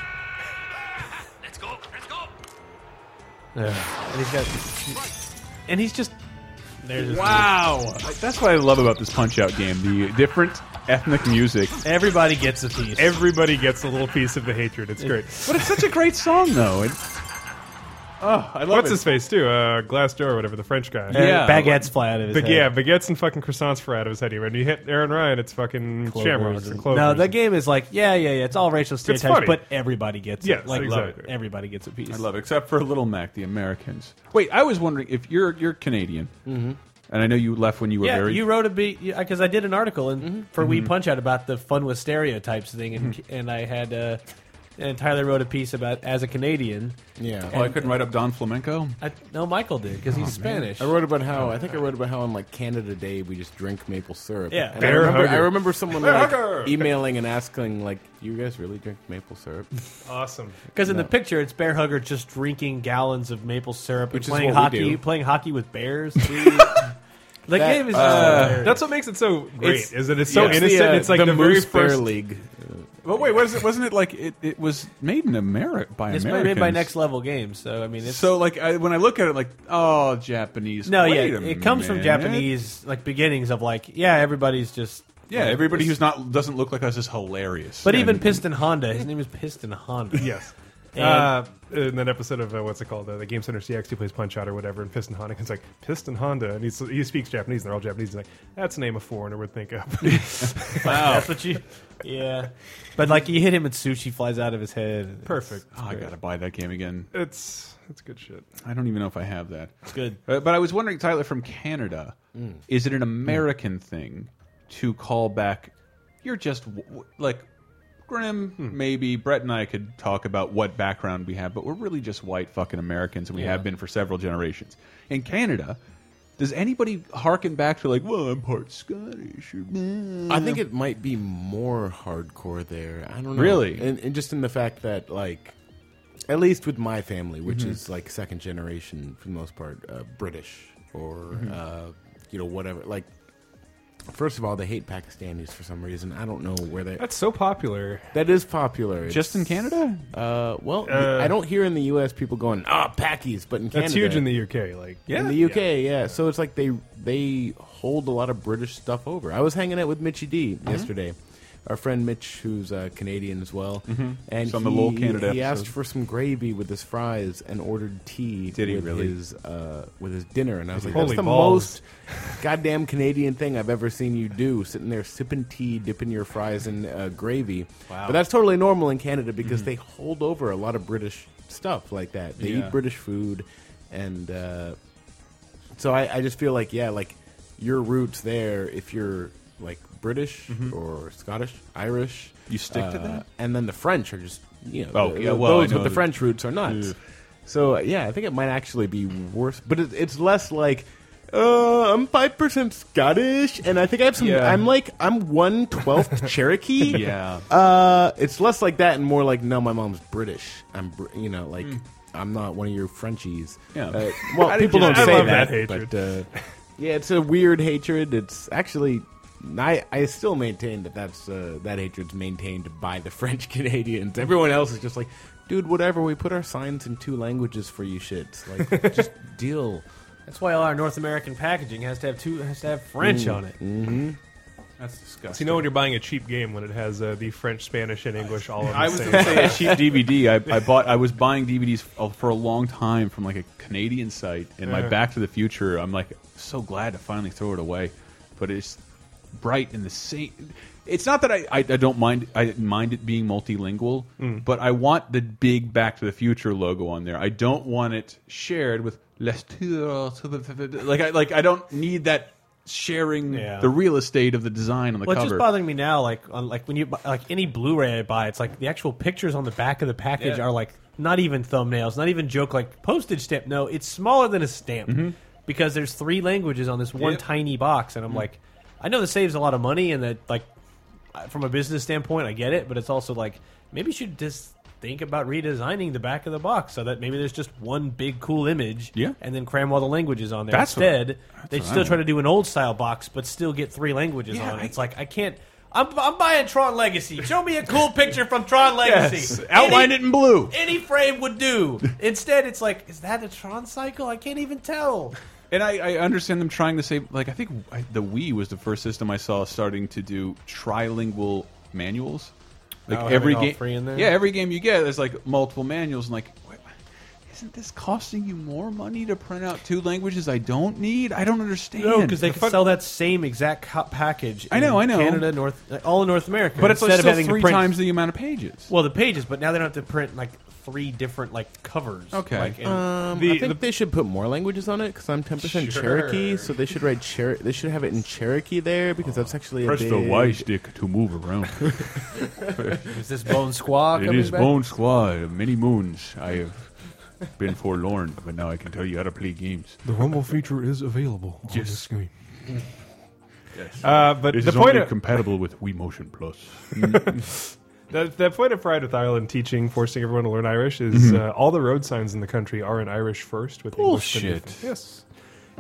Speaker 7: and he's got. And he's just. There's his-
Speaker 6: Wow, that's what I love about this Punch Out game. The different ethnic music.
Speaker 7: Everybody gets a piece.
Speaker 8: Everybody gets a little piece of the hatred. It's great.
Speaker 6: But it's such a great song, though. It, oh, I love
Speaker 8: What's
Speaker 6: it.
Speaker 8: his face too? Uh, glass door, whatever the French guy.
Speaker 7: Yeah, Yeah. baguettes fly out of his
Speaker 8: But
Speaker 7: head.
Speaker 8: yeah, baguettes and fucking croissants fly out of his head. When you hit Aaron Ryan, it's fucking
Speaker 7: Clovers
Speaker 8: shamrocks
Speaker 7: and-
Speaker 8: and clovers.
Speaker 7: No, that game is like, yeah, yeah, yeah. It's all racial
Speaker 8: funny.
Speaker 7: stereotypes, but everybody gets
Speaker 8: Yes,
Speaker 7: it. Like, love it.
Speaker 8: exactly.
Speaker 7: Everybody gets a piece.
Speaker 6: I love it, except for Little Mac, the Americans. Wait, I was wondering if you're you're Canadian,
Speaker 7: Mhm.
Speaker 6: and I know you left when you were
Speaker 7: yeah,
Speaker 6: very.
Speaker 7: you wrote a beat because I did an article and for We
Speaker 6: Mhm.
Speaker 7: Punch Out about the fun with stereotypes thing, and and I had uh, and Tyler wrote a piece about as a Canadian.
Speaker 9: Yeah.
Speaker 6: oh, I couldn't write up Don Flamenco.
Speaker 7: I, no, Michael did because he's Spanish.
Speaker 9: Oh, I wrote about how I think I wrote about how on like Canada Day we just drink maple syrup.
Speaker 7: Yeah.
Speaker 9: And I
Speaker 7: Bear
Speaker 9: remember,
Speaker 7: hugger.
Speaker 9: I remember someone
Speaker 7: Bear
Speaker 9: like
Speaker 7: hugger.
Speaker 9: emailing and asking like, "You guys really drink maple syrup?"
Speaker 8: Awesome.
Speaker 7: Because in
Speaker 9: No.
Speaker 7: the picture, it's Bear Hugger just drinking gallons of maple syrup
Speaker 9: Which is
Speaker 7: and playing
Speaker 9: what we
Speaker 7: hockey,
Speaker 9: do.
Speaker 7: playing hockey with bears. the game is just hilarious.
Speaker 8: that's what makes it so great.
Speaker 6: It's-
Speaker 8: is that it's so
Speaker 6: yeah, it's the,
Speaker 8: innocent?
Speaker 6: uh,
Speaker 8: it's like the,
Speaker 6: the
Speaker 8: very
Speaker 6: Moose Bear
Speaker 8: first
Speaker 6: League. But wait, was it, wasn't it like it, it was made in America by
Speaker 7: It's
Speaker 6: Americans?
Speaker 7: made by Next Level Games, so I mean, it's,
Speaker 6: So like I, when I look at it, like oh, Japanese.
Speaker 7: no, yeah,
Speaker 6: wait
Speaker 7: it
Speaker 6: a
Speaker 7: comes from
Speaker 6: minute.
Speaker 7: Japanese like beginnings of like, yeah, everybody's just
Speaker 6: Yeah, everybody who's not doesn't look like us is hilarious.
Speaker 7: But even
Speaker 6: And-
Speaker 7: Piston Honda, his name is Piston Honda.
Speaker 8: Yes.
Speaker 7: And-
Speaker 8: uh, in that episode of uh, what's it called, uh, the Game Center CX, he plays Punch Out or whatever, and Piston Honda is like Piston Honda, and he's, he speaks Japanese, and they're all Japanese. And like that's a name a foreigner would think up.
Speaker 7: That's what you. Yeah. But like you hit him and sushi flies out of his head.
Speaker 8: Perfect.
Speaker 6: Oh, I gotta buy that game again.
Speaker 8: It's it's good shit.
Speaker 6: I don't even know if I have that. It's
Speaker 7: good.
Speaker 6: Uh, But, I was wondering, Tyler, from Canada,
Speaker 8: Mm.
Speaker 6: is it an American thing to call back? You're just w- w- like Grim, maybe. Brett and I could talk about what background we have, but we're really just white fucking Americans, and we
Speaker 12: Yeah.
Speaker 6: have been for several generations. In Canada, does anybody hearken back to, like, well, I'm part Scottish? Or,
Speaker 9: I think it might be more hardcore there. I don't know.
Speaker 6: Really?
Speaker 9: And, and just in the fact that, like, at least with my family, which
Speaker 8: Mm-hmm.
Speaker 6: Mhm.
Speaker 9: is like second generation for the most part, uh, British or,
Speaker 8: Mm-hmm.
Speaker 6: Mhm.
Speaker 9: uh, you know, whatever. Like, first of all, they hate Pakistanis for some reason. I don't know where they.
Speaker 8: That's so popular.
Speaker 9: That is popular.
Speaker 6: Just in Canada?
Speaker 9: Uh, well,
Speaker 8: Uh,
Speaker 9: I don't hear in the U.S. people going, ah, Pakis, but in Canada.
Speaker 8: That's huge in the UK, like-
Speaker 9: in
Speaker 8: Yeah.
Speaker 9: the UK, yeah. So it's like they they hold a lot of British stuff over. I was hanging out with Mitchy D
Speaker 6: Mhm.
Speaker 9: yesterday, our friend Mitch, who's uh, Canadian as well,
Speaker 6: Mhm.
Speaker 9: and
Speaker 6: It's on
Speaker 9: he,
Speaker 6: the Lowell Canada
Speaker 9: he asked
Speaker 6: episode.
Speaker 9: for some gravy with his fries and ordered tea.
Speaker 6: Did he
Speaker 9: with
Speaker 6: really?
Speaker 9: His, uh, with his dinner, and I was
Speaker 6: Did
Speaker 9: like,
Speaker 6: he?
Speaker 9: that's
Speaker 6: Holy
Speaker 9: the
Speaker 6: balls.
Speaker 9: most goddamn Canadian thing I've ever seen you do. Sitting there sipping tea, dipping your fries in uh, gravy.
Speaker 6: Wow. Mm-hmm.
Speaker 9: But that's totally normal in Canada because they hold over a lot of British stuff like that. They
Speaker 6: Yeah.
Speaker 9: eat British food, and uh, so I, I just feel like yeah, like your roots there. If you're like British or Scottish, Irish,
Speaker 6: Mm-hmm.
Speaker 9: uh,
Speaker 6: You stick to that?
Speaker 9: and then the French are just you know
Speaker 6: Oh,
Speaker 9: th-
Speaker 6: yeah, well,
Speaker 9: those
Speaker 6: I know
Speaker 9: with the
Speaker 6: that-
Speaker 9: French roots are nuts.
Speaker 6: Yeah.
Speaker 9: So yeah, I think it might actually be worse, but it, it's less like. Uh, I'm five percent Scottish, and I think I have some.
Speaker 6: Yeah.
Speaker 9: I'm like I'm
Speaker 6: <laughs>
Speaker 9: one twelfth Cherokee.
Speaker 6: Yeah.
Speaker 9: Uh, it's less like that and more like, no, my mom's British. I'm, Br- you know, like, I'm not one of your Frenchies.
Speaker 6: Hmm. Yeah. <laughs>
Speaker 9: Uh, well,
Speaker 6: I
Speaker 9: people
Speaker 6: just-
Speaker 9: don't
Speaker 6: I
Speaker 9: say
Speaker 6: love
Speaker 9: that,
Speaker 6: that hatred.
Speaker 9: but uh, <laughs> yeah, it's a weird hatred. It's actually, I, I still maintain that that's uh, that hatred's maintained by the <laughs> French Canadians. Everyone else is just like, dude, whatever. We put our signs in two languages for you, shits. <laughs> Like, just deal.
Speaker 7: That's why all our North American packaging has to have two has to have French on it.
Speaker 9: Mm-hmm.
Speaker 6: That's disgusting.
Speaker 8: So you know when you're buying a cheap game when it has uh, the French, Spanish, and English all on the
Speaker 6: I was
Speaker 8: same.
Speaker 6: going to say a cheap DVD. I, I bought. I was buying DVDs f- uh, for a long time from like a Canadian site, and my
Speaker 8: Yeah.
Speaker 6: Back to the Future. I'm like so glad to finally throw it away, but it's bright in the same. It's not that I, I, I don't mind I didn't mind it being multilingual,
Speaker 8: Mm.
Speaker 6: but I want the big Back to the Future logo on there. I don't want it shared with Les Tours. Like I like I don't need that sharing
Speaker 7: Yeah.
Speaker 6: the real estate of the design on the
Speaker 7: well, it's
Speaker 6: cover.
Speaker 7: just bothering me now. Like, on, like when you bu- like any Blu-ray I buy, it's like the actual pictures on the back of the package
Speaker 6: Yeah.
Speaker 7: are like not even thumbnails, not even joke like postage stamp. No, it's smaller than a stamp
Speaker 6: Mm-hmm.
Speaker 7: because there's three languages on this one
Speaker 6: Yep.
Speaker 7: tiny box, and I'm
Speaker 6: Mhm.
Speaker 7: like, I know this saves a lot of money, and that like I- from a business standpoint, I get it, but it's also like maybe you should just think about redesigning the back of the box so that maybe there's just one big cool image,
Speaker 6: Yeah.
Speaker 7: and then cram all the languages on there.
Speaker 6: That's what-
Speaker 7: Instead,
Speaker 6: that's
Speaker 7: they
Speaker 6: what I
Speaker 7: still try
Speaker 6: want.
Speaker 7: to do an old style box, but still get three languages
Speaker 6: Yeah,
Speaker 7: on it.
Speaker 6: I-
Speaker 7: It's like I can't. I'm, I'm buying Tron Legacy. Show me a <laughs> cool picture from Tron Legacy.
Speaker 6: Yes. Outline it in blue.
Speaker 7: Any frame would do. Instead, it's like, is that a Tron cycle? I can't even tell.
Speaker 6: And I, I understand them trying to say, like, I think I, the Wii was the first system I saw starting to do trilingual manuals. Like
Speaker 7: Oh, having
Speaker 6: every
Speaker 7: all
Speaker 6: game,
Speaker 7: three in there?
Speaker 6: yeah, every game you get, there's like multiple manuals, and like, what- isn't this costing you more money to print out two languages I don't need? I don't understand.
Speaker 7: No, because they could sell that same exact co- package.
Speaker 6: I know,
Speaker 7: in
Speaker 6: I know.
Speaker 7: Canada, North, like, all of North America.
Speaker 6: But it's like
Speaker 7: instead
Speaker 6: still
Speaker 7: of having to
Speaker 6: three
Speaker 7: print-
Speaker 6: times the amount of pages.
Speaker 7: Well, the pages, but now they don't have to print like three different like covers. Like, and-
Speaker 9: um, I think they should put more languages on it because I'm 10 percent
Speaker 7: Sure.
Speaker 9: Cherokee, so they should write Cher- They should have it in Cherokee there because that's actually a
Speaker 6: Press
Speaker 9: big...
Speaker 6: the Y stick to move <laughs> around.
Speaker 7: Is this Bone Squaw
Speaker 6: It
Speaker 7: coming
Speaker 6: is
Speaker 7: back?
Speaker 6: Bone Squaw. Many moons I have been forlorn, but now I can tell you how to play games.
Speaker 8: The Rumble feature is available on the screen.
Speaker 6: Uh,
Speaker 8: Uh,
Speaker 6: but
Speaker 8: but
Speaker 6: it is
Speaker 8: the point
Speaker 6: only
Speaker 8: of-
Speaker 6: compatible with WeMotion Plus.
Speaker 8: That, that point of pride with Ireland teaching, forcing everyone to learn Irish, is
Speaker 6: Mhm.
Speaker 8: uh, all the road signs in the country are in Irish first with English
Speaker 6: Bullshit.
Speaker 8: beneath them. Yes.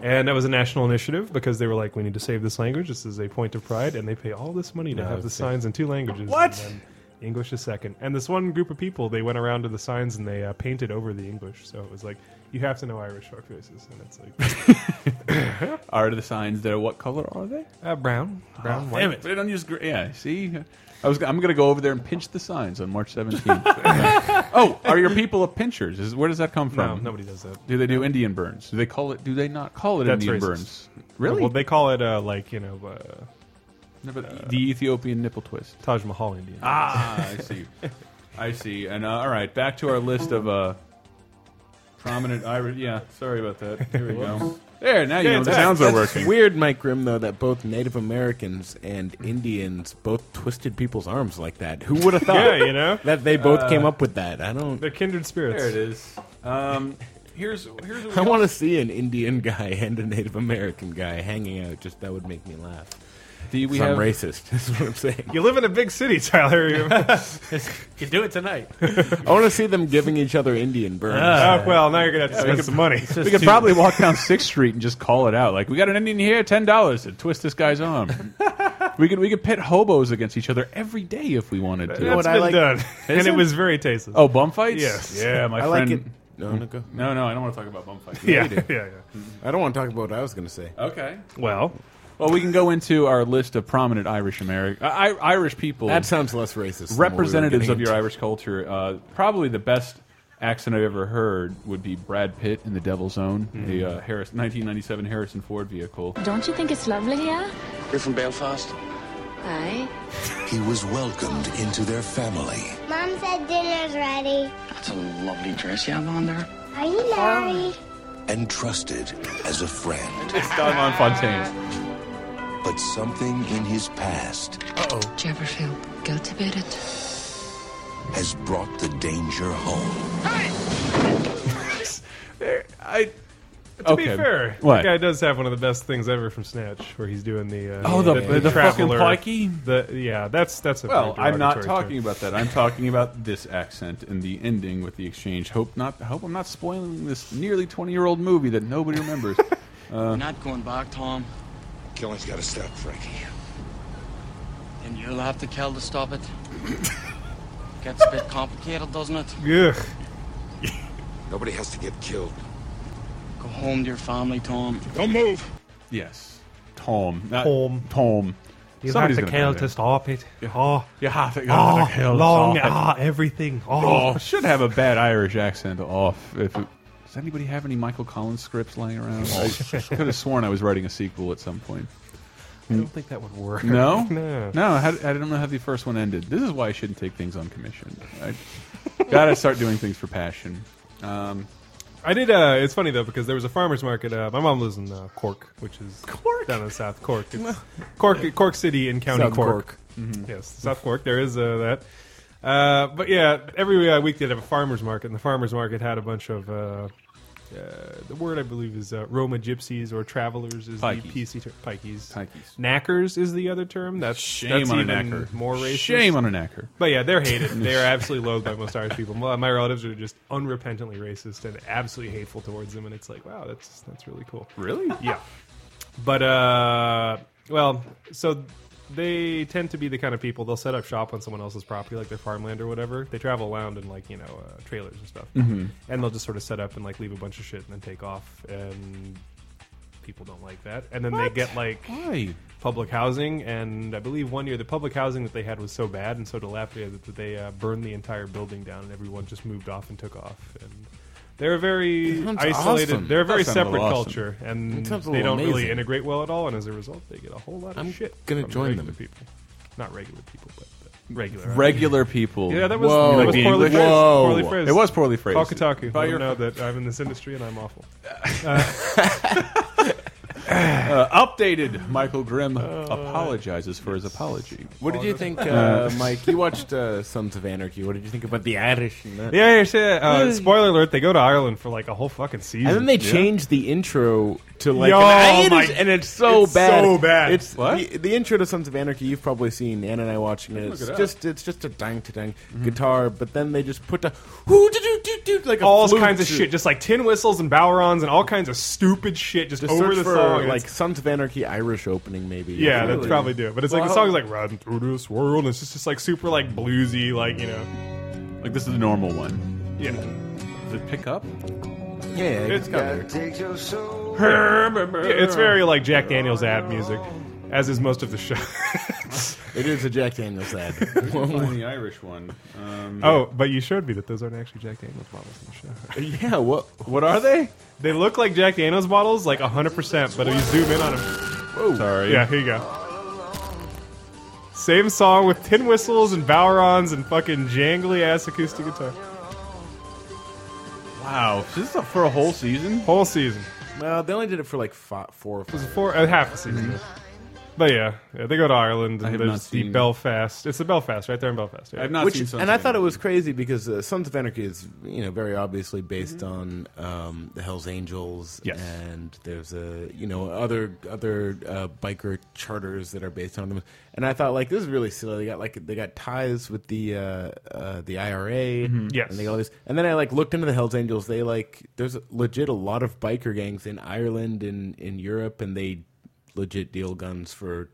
Speaker 8: And that was a national initiative because they were like, we need to save this language. This is a point of pride. And they pay all this money to
Speaker 6: No,
Speaker 8: have the
Speaker 6: it's-
Speaker 8: signs in two languages.
Speaker 6: What?
Speaker 8: and then English is second. And this one group of people, they went around to the signs and they uh, painted over the English. So it was like, you have to know Irish fuck faces. And
Speaker 6: <laughs>
Speaker 8: it's like.
Speaker 6: are the signs there? What color are they?
Speaker 8: Uh, brown. Brown, white.
Speaker 6: Damn it! They don't use gray. Yeah, see, I was. I'm gonna go over there and pinch the signs on March <laughs> 17th. oh, are your people a pinchers? Is, where does that come from?
Speaker 8: No, nobody does that.
Speaker 6: Do they do Indian burns? Do they call it? Do they not call it Indian
Speaker 8: racist.
Speaker 6: burns? Really?
Speaker 8: Well, they call it uh, like you know, uh,
Speaker 6: No, but the Ethiopian nipple twist,
Speaker 8: Taj Mahal Indian.
Speaker 6: Ah, <laughs> I see. I see. And uh, all right, back to our list of uh, prominent Irish. Yeah, sorry about that. Here we go. There, now you know the sounds are
Speaker 9: That's
Speaker 6: working.
Speaker 9: Weird, Mike Grimm, though, that both Native Americans and Indians both twisted people's arms like that. Who would have thought?
Speaker 6: <laughs> Yeah, you know?
Speaker 9: that they both
Speaker 6: Uh,
Speaker 9: came up with that. I don't.
Speaker 8: They're kindred spirits.
Speaker 6: There it is. Um, here's here's. What
Speaker 9: I want to see an Indian guy <laughs> and a Native American guy hanging out. Just that would make me laugh.
Speaker 6: The,
Speaker 8: we
Speaker 9: I'm
Speaker 8: have-
Speaker 9: racist. <laughs> That's what I'm saying.
Speaker 8: You live in a big city, Tyler.
Speaker 7: you do it tonight.
Speaker 9: I want to see them giving each other Indian burns.
Speaker 8: <laughs> Ah, well, now you're gonna have to spend some money.
Speaker 6: we could probably walk down Sixth Street and just call it out. Like we got an Indian here, ten dollars to twist this guy's
Speaker 9: <laughs>
Speaker 6: arm. we could we could pit hobos against each other every day if we wanted to.
Speaker 8: That's been done, and
Speaker 6: Is
Speaker 8: it, was very tasteless.
Speaker 6: Oh, bum fights?
Speaker 8: Yes.
Speaker 6: Yeah, my
Speaker 9: I like
Speaker 6: friend.
Speaker 9: it. No, no, go.
Speaker 6: no, no, I don't want to talk about bum fights. <laughs>
Speaker 8: Yeah,
Speaker 9: You do.
Speaker 8: <laughs> yeah,
Speaker 9: I don't want to talk about what I was going to say.
Speaker 6: Okay.
Speaker 8: Well,
Speaker 6: well, we can go into our list of prominent Irish American, I Irish people.
Speaker 9: That sounds less racist. than what we were
Speaker 6: Representatives
Speaker 9: getting
Speaker 6: of your Irish culture. Uh, probably the best accent I've ever heard would be Brad Pitt in The Devil's Own,
Speaker 9: Mm.
Speaker 6: the uh, Harris, 1997 Harrison Ford vehicle.
Speaker 13: Don't you think it's lovely here?
Speaker 14: You're from Belfast?
Speaker 13: Aye.
Speaker 14: He was welcomed into their family.
Speaker 15: Mom said dinner's ready.
Speaker 14: That's a lovely dress you have on there.
Speaker 15: Are you married?
Speaker 14: And trusted as a friend.
Speaker 6: It's Don Fontaine.
Speaker 14: But something in his past
Speaker 13: Uh-oh. Do you ever feel
Speaker 14: Uh,
Speaker 13: guilty about it?
Speaker 14: has brought the danger home.
Speaker 6: I.
Speaker 8: To
Speaker 6: Okay.
Speaker 8: be fair,
Speaker 6: What?
Speaker 8: the guy does have one of the best things ever from Snatch, where he's doing the uh,
Speaker 6: Oh, the- the fucking
Speaker 8: traveler.
Speaker 6: pikey?
Speaker 8: The yeah, that's that's a
Speaker 6: Well,
Speaker 8: very
Speaker 6: I'm not
Speaker 8: derogatory
Speaker 6: talking about that. I'm talking about this accent and the ending with the exchange. Hope not. Hope I'm not spoiling this nearly 20 year old movie that nobody
Speaker 8: <laughs>
Speaker 6: remembers. uh,
Speaker 11: Not going back, Tom.
Speaker 14: Killing's got to stop, Frankie.
Speaker 11: And you'll have to kill to
Speaker 14: <laughs>
Speaker 11: stop it. Gets a bit complicated, doesn't it?
Speaker 8: term.
Speaker 14: Nobody has to get killed.
Speaker 11: Go home to your family, Tom.
Speaker 14: Don't move.
Speaker 6: yes, Tom. Not,
Speaker 8: Tom.
Speaker 6: Tom.
Speaker 8: You
Speaker 6: Somebody's
Speaker 8: have to
Speaker 6: gonna
Speaker 8: kill
Speaker 6: die
Speaker 8: to stop it. Oh,
Speaker 6: you have to, you
Speaker 8: oh,
Speaker 6: have to kill to
Speaker 8: long.
Speaker 6: stop it.
Speaker 8: Ah, everything.
Speaker 6: Oh,
Speaker 8: Oh,
Speaker 6: should have a bad Irish accent off. If it, does anybody
Speaker 8: <laughs>
Speaker 6: have any Michael Collins scripts lying around? I could have sworn I was writing a sequel at some point.
Speaker 7: I don't think that would work.
Speaker 6: No,
Speaker 7: no.
Speaker 6: no. How, I don't know how the first one ended. This is why I shouldn't take things on commission. I <laughs> gotta start doing things for passion. Um,
Speaker 8: I did. Uh, it's funny though because there was a farmers market. Uh, my mom lives in uh, Cork, which is Cork? down in South Cork. It's Cork, Cork City in County
Speaker 6: South
Speaker 8: Cork.
Speaker 6: Cork. Mhm.
Speaker 8: Yes, South Cork. There is uh, that. Uh, but yeah, every uh, week they'd have a farmers market, and the farmers market had a bunch of. Uh, uh, the word I believe is uh, Roma gypsies or travelers is
Speaker 6: Pikeys.
Speaker 8: the PC term. Pikeys.
Speaker 6: Pikeys.
Speaker 8: Knackers is the other term. That's
Speaker 6: Shame
Speaker 8: that's
Speaker 6: on a
Speaker 8: even
Speaker 6: knacker.
Speaker 8: More racist.
Speaker 6: Shame on a knacker.
Speaker 8: But yeah, they're hated. they are absolutely loathed by most Irish people. My my relatives are just unrepentantly racist and absolutely hateful towards them, and it's like, wow, that's that's really cool.
Speaker 6: Really?
Speaker 8: Yeah. But uh, well, so they tend to be the kind of people they'll set up shop on someone else's property, like their farmland or whatever. They travel around in like you know uh, trailers and stuff,
Speaker 6: Mhm.
Speaker 8: and they'll just sort of set up and like leave a bunch of shit and then take off and. People don't like that, and then
Speaker 6: What?
Speaker 8: they get like
Speaker 6: Why?
Speaker 8: public housing, and I believe one year the public housing that they had was so bad and so dilapidated that they uh, burned the entire building down, and everyone just moved off and took off. And they're a very
Speaker 9: That sounds
Speaker 8: isolated.
Speaker 9: awesome.
Speaker 8: They're a
Speaker 9: That
Speaker 8: very
Speaker 9: sounds a
Speaker 8: separate
Speaker 9: little awesome.
Speaker 8: culture,
Speaker 9: That
Speaker 8: and
Speaker 9: sounds a
Speaker 8: they
Speaker 9: little
Speaker 8: don't really
Speaker 9: amazing.
Speaker 8: integrate well at all. And as a result, they get a whole lot of
Speaker 9: I'm
Speaker 8: shit.
Speaker 9: gonna
Speaker 8: from the
Speaker 9: join
Speaker 8: regular
Speaker 9: them.
Speaker 8: people, not regular people, but the regular
Speaker 6: Regular people.
Speaker 8: Yeah, that was,
Speaker 6: Whoa.
Speaker 8: that was
Speaker 6: Like the
Speaker 8: poorly,
Speaker 6: English?
Speaker 8: phrased,
Speaker 6: Whoa.
Speaker 8: poorly phrased.
Speaker 6: It was poorly phrased.
Speaker 8: Talkataku.
Speaker 6: By
Speaker 8: By
Speaker 6: your-
Speaker 8: your know that I'm in this industry and I'm awful. Uh,
Speaker 6: Uh, updated. Michael Grimm apologizes for his apology.
Speaker 9: What did you
Speaker 8: <laughs>
Speaker 9: think, uh,
Speaker 6: Uh,
Speaker 9: Mike? You watched uh, Sons of Anarchy. What did you think about the Irish? And that?
Speaker 8: Yeah, yeah, shit. Uh, spoiler alert: They go to Ireland for like a whole fucking season,
Speaker 9: And then they
Speaker 8: Yeah.
Speaker 9: changed the intro to like,
Speaker 8: Yo,
Speaker 9: an
Speaker 8: my-
Speaker 9: Irish- and it's so
Speaker 8: it's
Speaker 9: bad.
Speaker 8: so bad.
Speaker 9: It's
Speaker 8: What?
Speaker 9: The, the intro to Sons of Anarchy. You've probably seen Anna and I watching it.
Speaker 8: Look
Speaker 9: It's
Speaker 8: it up.
Speaker 9: just it's just a dang to dang
Speaker 8: Mm-hmm.
Speaker 9: guitar, but then they just put a who do do do do like a
Speaker 8: all
Speaker 9: flute
Speaker 8: kinds of
Speaker 9: to-
Speaker 8: shit, just like tin whistles and bowrons and all kinds of stupid shit, just,
Speaker 9: Just
Speaker 8: over
Speaker 9: search
Speaker 8: the
Speaker 9: for
Speaker 8: song. and
Speaker 9: like
Speaker 8: it's-
Speaker 9: Sons of Anarchy Irish opening maybe.
Speaker 8: yeah, that's probably do. it. But it's like the
Speaker 9: Well,
Speaker 8: song's like riding through this world. And it's just, just like super like bluesy, like you know,
Speaker 6: like this is the normal one.
Speaker 8: yeah.
Speaker 6: Does it pick up?
Speaker 9: Yeah,
Speaker 8: it's
Speaker 9: got
Speaker 8: Yeah, it's very like Jack Daniels ad music, as is most of the
Speaker 9: <laughs>
Speaker 8: show.
Speaker 9: it is a Jack Daniels ad.
Speaker 8: <laughs>
Speaker 6: Find the Irish one. Um,
Speaker 8: Oh, but you showed me that those aren't actually Jack Daniels bottles in
Speaker 9: the show. yeah, what what are they?
Speaker 8: <laughs> They look like Jack Daniels bottles, like 100%, but if you zoom in on them,
Speaker 6: Sorry.
Speaker 8: Yeah, here you go. Same song with tin whistles and Bowrons and fucking jangly ass acoustic guitar.
Speaker 6: Wow, this is for a whole season.
Speaker 8: Whole season.
Speaker 9: Well, they only did it for like fi- four. Or five.
Speaker 8: It's four, uh, half a season. But yeah, yeah, they go to Ireland
Speaker 6: Mm-hmm. I
Speaker 8: and
Speaker 6: have not
Speaker 8: there's the
Speaker 6: seen-
Speaker 8: Belfast. It's the Belfast, right there in Belfast. Yeah.
Speaker 9: Which, And I thought it was crazy because uh, Sons of Anarchy is, you know, very obviously based on um, the Hell's Angels.
Speaker 8: Yes.
Speaker 9: And there's a, you know, other other uh, biker charters that are based on them. And I thought like this is really silly. They got like they got ties with the uh, uh, the IRA.
Speaker 8: Yes.
Speaker 9: And they got all this. And then I like looked into the Hell's Angels. They like there's legit a lot of biker gangs in Ireland and in Europe, and they legit deal guns for.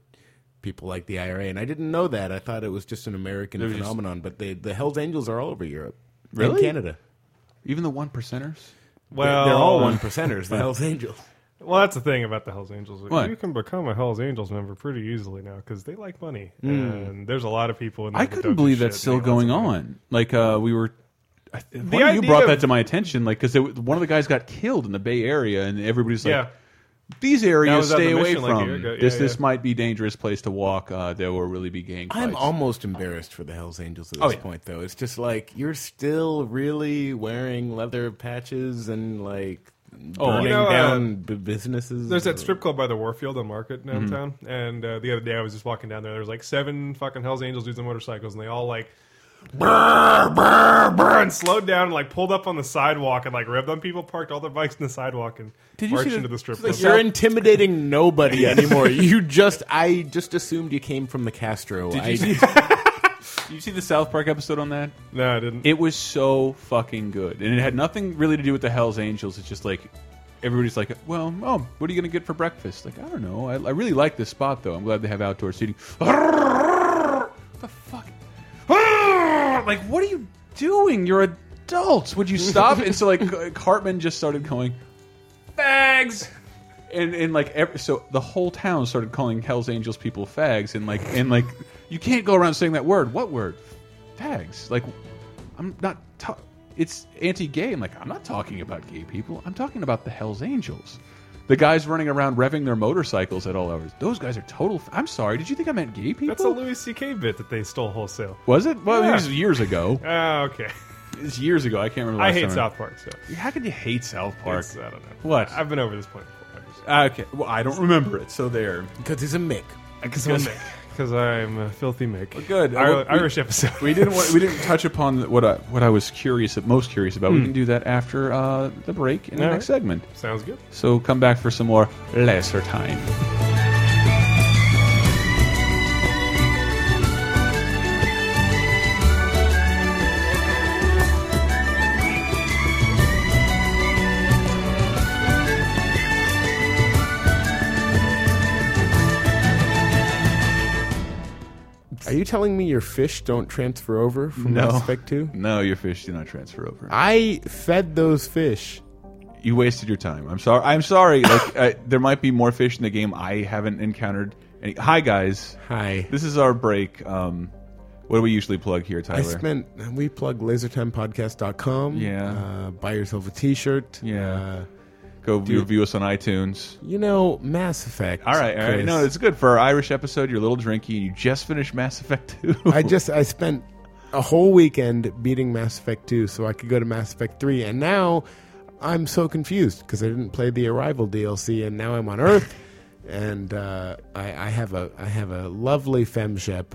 Speaker 9: People like the IRA, and I didn't know that. I thought it was just an American
Speaker 6: They were just-
Speaker 9: phenomenon, but they, the Hell's Angels are all over Europe. and
Speaker 6: Really?
Speaker 9: Canada.
Speaker 6: Even the one percenters.
Speaker 8: Well,
Speaker 9: they're all one
Speaker 8: <laughs>
Speaker 9: percenters. The Hell's Angels.
Speaker 8: Well, that's the thing about the Hells Angels.
Speaker 6: What?
Speaker 8: You can become a Hells Angels member pretty easily now because they like money,
Speaker 6: Mm.
Speaker 8: and there's a lot of people. in
Speaker 6: I couldn't believe that's still going on. Like uh, we were, I th- one of you
Speaker 8: idea
Speaker 6: brought
Speaker 8: of-
Speaker 6: that to my attention. Like because one of the guys got killed in the Bay Area, and everybody's like,
Speaker 8: Yeah.
Speaker 6: "These
Speaker 8: That
Speaker 6: areas
Speaker 8: was at the
Speaker 6: stay away
Speaker 8: mission, like, a year
Speaker 6: from
Speaker 8: ago. Yeah,
Speaker 6: this.
Speaker 8: yeah.
Speaker 6: This might be dangerous place to walk. Uh, there will really be gang fights."
Speaker 9: I'm almost embarrassed for the Hell's Angels at this
Speaker 6: Oh, yeah.
Speaker 9: point, though. It's just like you're still really wearing leather patches and like
Speaker 8: Oh,
Speaker 9: burning
Speaker 8: you know, uh,
Speaker 9: down b- businesses.
Speaker 8: There's
Speaker 6: uh,
Speaker 8: that strip club by the Warfield on Market
Speaker 6: Mm-hmm.
Speaker 8: downtown, and uh, the other day I was just walking down there. There was like seven fucking Hell's Angels dudes on motorcycles, and they all like. <laughs> Brr, brr, brr, and slowed down and like pulled up on the sidewalk and like revved on people, parked all their bikes in the sidewalk and
Speaker 9: Did you
Speaker 8: marched
Speaker 9: see
Speaker 8: into the strip
Speaker 9: it's like
Speaker 8: club.
Speaker 9: You're intimidating <laughs> nobody anymore. You just, I just assumed you came from the Castro.
Speaker 6: Did
Speaker 9: I,
Speaker 6: you <laughs> see? Did you see the South Park episode on that?
Speaker 8: No, I didn't.
Speaker 6: It was so fucking good, and it had nothing really to do with the Hell's Angels. It's just like everybody's like, "Well, oh, what are you gonna get for breakfast?" Like, I don't know. I, I really like this spot though. I'm glad they have outdoor seating. <laughs> like, what are you doing? You're adults. Would you stop? and so, like, Cartman just started going, fags. And and like every, so, the whole town started calling Hell's Angels people fags, and like and like you can't go around saying that word. What word? Fags. Like, I'm not. Ta it's anti-gay. I'm like, I'm not talking about gay people. I'm talking about the Hell's Angels. The guys running around revving their motorcycles at all hours. Those guys are total. F I'm sorry. Did you think I meant gay people?
Speaker 8: That's a Louis C.K. bit that they stole wholesale.
Speaker 6: Was it? Well,
Speaker 8: Yeah.
Speaker 6: it was years ago.
Speaker 8: Ah, okay.
Speaker 6: It's years ago. I can't remember. the
Speaker 8: I
Speaker 6: last
Speaker 8: hate
Speaker 6: time.
Speaker 8: South Park. So
Speaker 6: how could you hate South Park?
Speaker 8: It's- I don't know.
Speaker 6: What?
Speaker 8: I've been over this point.
Speaker 6: uh, Okay. Well, I don't remember it. So there.
Speaker 9: Because he's a Mick.
Speaker 6: Because
Speaker 8: I'm a Mick. Because I'm a filthy Mick.
Speaker 6: Uh, Well, good.
Speaker 8: Ir-
Speaker 6: Well, we-
Speaker 8: Irish episode.
Speaker 6: We didn't. Want, we didn't touch upon what I what I was curious, most curious about. We
Speaker 8: Hmm.
Speaker 6: can do that after uh, the break in the
Speaker 8: All
Speaker 6: next
Speaker 8: right.
Speaker 6: segment.
Speaker 8: <laughs> Sounds good.
Speaker 6: So come back for some more lesser time.
Speaker 9: Are you telling me your fish don't transfer over from
Speaker 6: No.
Speaker 9: Mass Effect 2?
Speaker 6: No, your fish do not transfer over.
Speaker 9: I fed those fish.
Speaker 6: You wasted your time. I'm sorry. I'm <laughs> sorry. Like uh, there might be more fish in the game I haven't encountered. Any. Hi guys.
Speaker 9: Hi.
Speaker 6: This is our break. Um, what do we usually plug here, Tyler?
Speaker 9: I spent. We plug lasertimepodcast.com.
Speaker 6: Yeah.
Speaker 9: Uh, buy yourself a t shirt.
Speaker 6: Yeah. Go
Speaker 9: do-
Speaker 6: review us on iTunes.
Speaker 9: You know, Mass Effect.
Speaker 6: All right, all right.
Speaker 9: Chris.
Speaker 6: No, it's good for our Irish episode. You're a little drinky, and you just finished Mass Effect Two.
Speaker 9: <laughs> I just I spent a whole weekend beating Mass Effect 2 so I could go to Mass Effect 3 and now I'm so confused because I didn't play the Arrival DLC and now I'm on
Speaker 6: <laughs>
Speaker 9: Earth and uh, I, I have a I have a lovely femship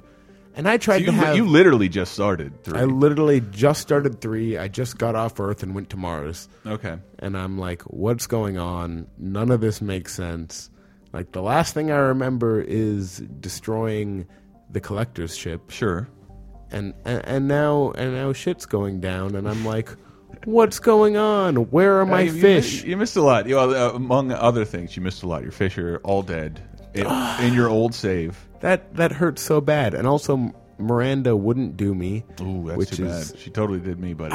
Speaker 9: and I
Speaker 6: So
Speaker 9: tried
Speaker 6: you,
Speaker 9: to have
Speaker 6: you literally just started three.
Speaker 9: I literally just started 3 I just got off Earth and went to Mars
Speaker 6: okay.
Speaker 9: and I'm like, what's going on? None of this makes sense. Like the last thing I remember is destroying the collector's ship.
Speaker 6: Sure.
Speaker 9: And and, and now and now shit's going down, and I'm like, what's going on? Where are
Speaker 6: Uh,
Speaker 9: my
Speaker 6: you- you
Speaker 9: fish?
Speaker 6: missed- You, missed a lot. You, uh, among other things, you missed a lot. Your fish are all dead
Speaker 9: <sighs>
Speaker 6: in, in your old save.
Speaker 9: that that hurts so bad. And also, Miranda wouldn't do me.
Speaker 6: Ooh, that's
Speaker 9: which
Speaker 6: too
Speaker 9: is
Speaker 6: bad. She totally did me,
Speaker 9: <sighs>
Speaker 6: buddy.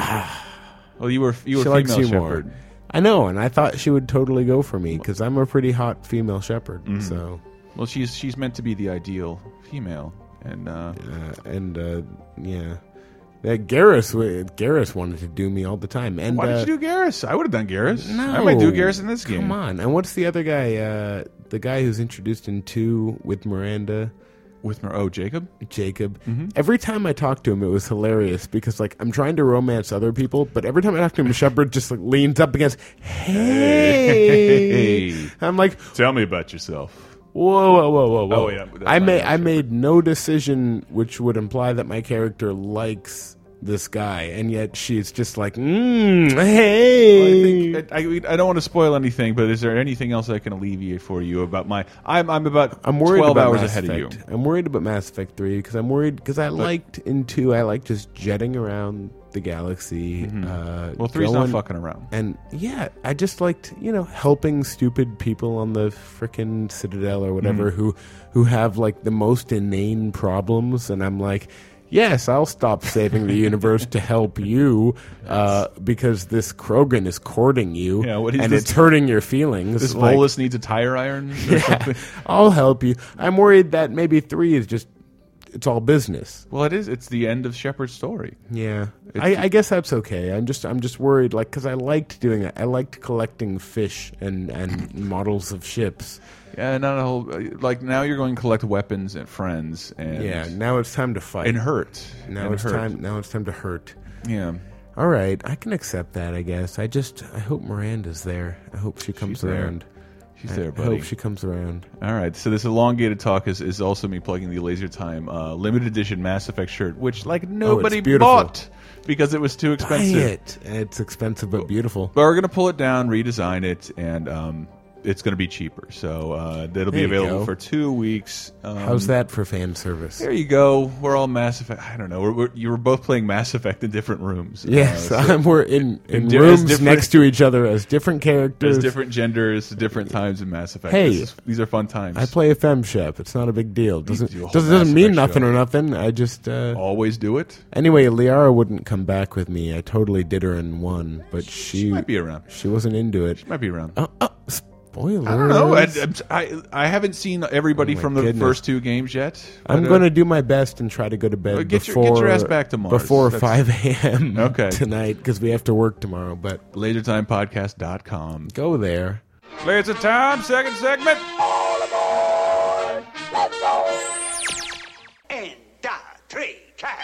Speaker 6: well, you were you were
Speaker 9: she
Speaker 6: female
Speaker 9: likes you
Speaker 6: shepherd.
Speaker 9: more. I know, and I thought she would totally go for me because I'm a pretty hot female shepherd.
Speaker 6: Mhm.
Speaker 9: So
Speaker 6: Well, she's she's meant to be the ideal female, and uh,
Speaker 9: uh, and uh, yeah, that Garrus wa- Garrus wanted to do me all the time. And
Speaker 6: why
Speaker 9: uh,
Speaker 6: did you do Garrus? I would have done Garrus.
Speaker 9: No,
Speaker 6: I might do Garrus in this game.
Speaker 9: Come on, and what's the other guy? Uh, the guy who's introduced in two with Miranda.
Speaker 6: With Mir- oh Jacob,
Speaker 9: Jacob.
Speaker 6: Mm-hmm.
Speaker 9: Every time I talked to him, it was hilarious because like I'm trying to romance other people, but every time I talk to him, Shepard just like leans up against, hey,
Speaker 6: Hey.
Speaker 9: I'm like,
Speaker 6: Tell me about yourself.
Speaker 9: Whoa, whoa, whoa, whoa, whoa!
Speaker 6: Oh, yeah, that's
Speaker 9: I
Speaker 6: my
Speaker 9: made
Speaker 6: bad,
Speaker 9: I made no decision which would imply that my character likes this guy, and yet she's just like, mm, hey.
Speaker 6: I, mean, I don't want to spoil anything, but is there anything else I can alleviate for you about my? I'm I'm about
Speaker 9: I'm worried
Speaker 6: twelve
Speaker 9: about
Speaker 6: hours
Speaker 9: Mass
Speaker 6: ahead of
Speaker 9: Effect.
Speaker 6: you.
Speaker 9: I'm worried about Mass Effect Three because I'm worried because I liked in two. I like just jetting around the galaxy. Uh,
Speaker 6: Mm-hmm. Well, three's not
Speaker 9: going-
Speaker 6: fucking around.
Speaker 9: And yeah, I just liked you know helping stupid people on the frickin' Citadel or whatever
Speaker 6: Mhm.
Speaker 9: who who have like the most inane problems, and I'm like. Yes, I'll stop saving the universe
Speaker 6: <laughs>
Speaker 9: to help you uh, because this Krogan is courting you
Speaker 6: Yeah, what is
Speaker 9: and
Speaker 6: this-
Speaker 9: it's hurting your feelings.
Speaker 6: This
Speaker 9: Like-
Speaker 6: Volus needs a tire
Speaker 9: <laughs>
Speaker 6: iron. Or <laughs> something.
Speaker 9: I'll help you. I'm worried that maybe three is just it's all business.
Speaker 6: Well, it is. It's the end of Shepard's story.
Speaker 9: Yeah,
Speaker 6: It's-
Speaker 9: I, I guess that's okay. I'm just I'm just worried, like, because I liked doing that. I liked collecting fish and and models of ships.
Speaker 6: Yeah, not a whole. Like now, you're going to collect weapons and friends, and
Speaker 9: yeah, now it's time to fight
Speaker 6: and hurt.
Speaker 9: Now
Speaker 6: and
Speaker 9: it's
Speaker 6: hurt.
Speaker 9: time. Now it's time to hurt.
Speaker 6: Yeah.
Speaker 9: All right, I can accept that. I guess. I just I hope Miranda's there. I hope she comes
Speaker 6: there.
Speaker 9: around.
Speaker 6: She's
Speaker 9: I-
Speaker 6: there,
Speaker 9: I
Speaker 6: buddy.
Speaker 9: hope she comes around.
Speaker 6: All right, so this elongated talk is, is also me plugging the Laser Time uh, limited edition Mass Effect shirt, which like nobody
Speaker 9: Oh, beautiful.
Speaker 6: bought because it was too expensive.
Speaker 9: Buy it. It's expensive but beautiful.
Speaker 6: But we're gonna pull it down, redesign it, and um, it's gonna be cheaper. So uh, that'll be
Speaker 9: There you
Speaker 6: available
Speaker 9: go.
Speaker 6: for two weeks. Um,
Speaker 9: How's that for fan service?
Speaker 6: There you go. We're all Mass Effect. I don't know. We're, we're, you were both playing Mass Effect in different rooms.
Speaker 9: Yes,
Speaker 6: Uh, so-
Speaker 9: um, we're in, in
Speaker 6: di- as
Speaker 9: rooms
Speaker 6: different-
Speaker 9: next to each other as different characters.
Speaker 6: There's different genders, different times in Mass Effect.
Speaker 9: Hey.
Speaker 6: This is- these are fun times.
Speaker 9: I play a fem shep. It's not a big deal. Doesn't
Speaker 6: do a whole
Speaker 9: doesn't,
Speaker 6: Mass
Speaker 9: doesn't mean
Speaker 6: Effect
Speaker 9: nothing
Speaker 6: show.
Speaker 9: or nothing. I just uh,
Speaker 6: Always do it.
Speaker 9: Anyway, Liara wouldn't come back with me. I totally did her in one, but she,
Speaker 6: might be around.
Speaker 9: She wasn't into it. She
Speaker 6: might be around.
Speaker 9: Uh, uh, spoilers.
Speaker 6: I don't know. I, I'm- I, I haven't seen everybody
Speaker 9: Oh my
Speaker 6: from the
Speaker 9: goodness.
Speaker 6: first two games yet.
Speaker 9: I'm
Speaker 6: but, uh,
Speaker 9: going to do my best and try to go to bed
Speaker 6: Get your-
Speaker 9: before
Speaker 6: get your ass back to Mars.
Speaker 9: before
Speaker 6: That's-
Speaker 9: 5
Speaker 6: <laughs>
Speaker 9: a.m.
Speaker 6: Okay.
Speaker 9: tonight because we have to work tomorrow. But
Speaker 6: lasertimepodcast.com.
Speaker 9: Go there.
Speaker 6: It's a time, second segment.
Speaker 10: And da, three, cat.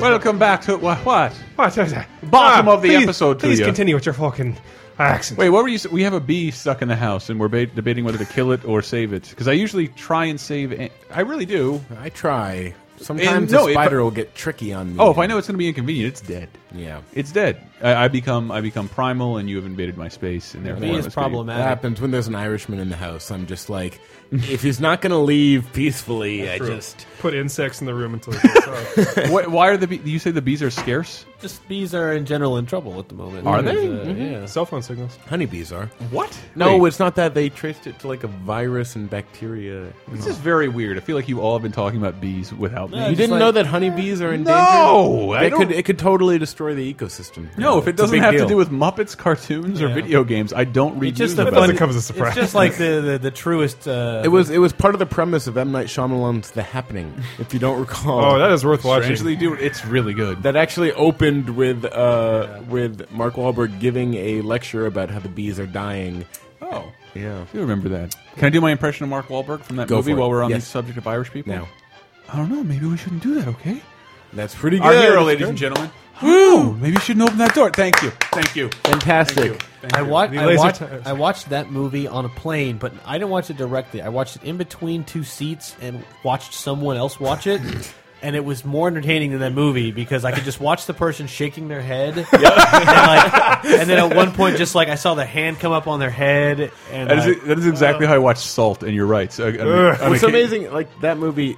Speaker 6: Welcome back to what? What?
Speaker 8: What? Bottom
Speaker 6: Bottom of the episode to
Speaker 8: Ah, Please
Speaker 6: you.
Speaker 8: continue with your fucking accent.
Speaker 6: Wait, what were you? s- We have a bee stuck in the house, and we're ba- debating whether to kill it or save it. Because I usually try and save. An I really do.
Speaker 9: I try. Sometimes the spider will get tricky on me.
Speaker 6: Oh, if I know it's going to be inconvenient, it's dead.
Speaker 9: Yeah.
Speaker 6: it's dead. I, I become I become primal, and you have invaded my space, and therefore I must be-
Speaker 9: That happens when there's an Irishman in the house. I'm just like, if he's not going to leave peacefully, I
Speaker 8: True.
Speaker 9: just
Speaker 8: put insects in the room
Speaker 6: <laughs>
Speaker 8: until. It gets up.
Speaker 6: Why- why are the bee- you say the bees are scarce?
Speaker 7: Just bees are in general in trouble at the moment.
Speaker 6: Are they?
Speaker 7: Because, uh,
Speaker 9: Mhm.
Speaker 7: Yeah.
Speaker 8: Cell phone signals.
Speaker 9: Honeybees are.
Speaker 6: What?
Speaker 9: No,
Speaker 6: Wait.
Speaker 9: it's not that. They traced it to like a virus and bacteria.
Speaker 6: This is very weird. I feel like you all have been talking about bees without me.
Speaker 9: you didn't know that honeybees are in danger?
Speaker 6: No, I
Speaker 9: They
Speaker 6: don't-
Speaker 9: could, it could totally destroy the ecosystem.
Speaker 6: No, if it
Speaker 9: It's a
Speaker 6: doesn't
Speaker 9: big
Speaker 6: have
Speaker 9: deal.
Speaker 6: to do with Muppets, cartoons, or
Speaker 9: Yeah.
Speaker 6: video games, I don't read news about it.
Speaker 7: It's just like the the, the truest. Uh,
Speaker 9: It was it was part of the premise of M Night Shyamalan's The Happening, if you don't recall.
Speaker 8: Oh, that is worth watching.
Speaker 6: Strangely dude, it's really good.
Speaker 9: That actually opened with uh, with Mark Wahlberg giving a lecture about how the bees are dying.
Speaker 6: Oh,
Speaker 9: yeah,
Speaker 6: you remember that? Can I do my impression of Mark Wahlberg from that
Speaker 9: Go
Speaker 6: movie
Speaker 9: for it.
Speaker 6: while we're on
Speaker 9: Yes.
Speaker 6: the subject of Irish people?
Speaker 9: Now.
Speaker 6: I don't know. Maybe we shouldn't do that. Okay.
Speaker 9: That's pretty good.
Speaker 6: Our hero, ladies
Speaker 9: That's
Speaker 6: and
Speaker 9: good.
Speaker 6: gentlemen. Woo! Maybe you shouldn't open that door. Thank you. Thank you.
Speaker 9: Fantastic.
Speaker 6: Thank you. Thank
Speaker 7: I
Speaker 6: you.
Speaker 7: watched.
Speaker 6: The
Speaker 7: I
Speaker 6: laser
Speaker 7: watched,
Speaker 6: tires.
Speaker 7: I watched that movie on a plane, but I didn't watch it directly. I watched it in between two seats and watched someone else watch it. And it was more entertaining than that movie because I could just watch the person shaking their head, and, like, and then at one point, just like I saw the hand come up on their heid, and
Speaker 6: That is,
Speaker 7: like,
Speaker 6: that is exactly how I watched Salt, and you're right. So, I, I mean- I
Speaker 9: What's
Speaker 6: mean-
Speaker 9: amazing, like that movie,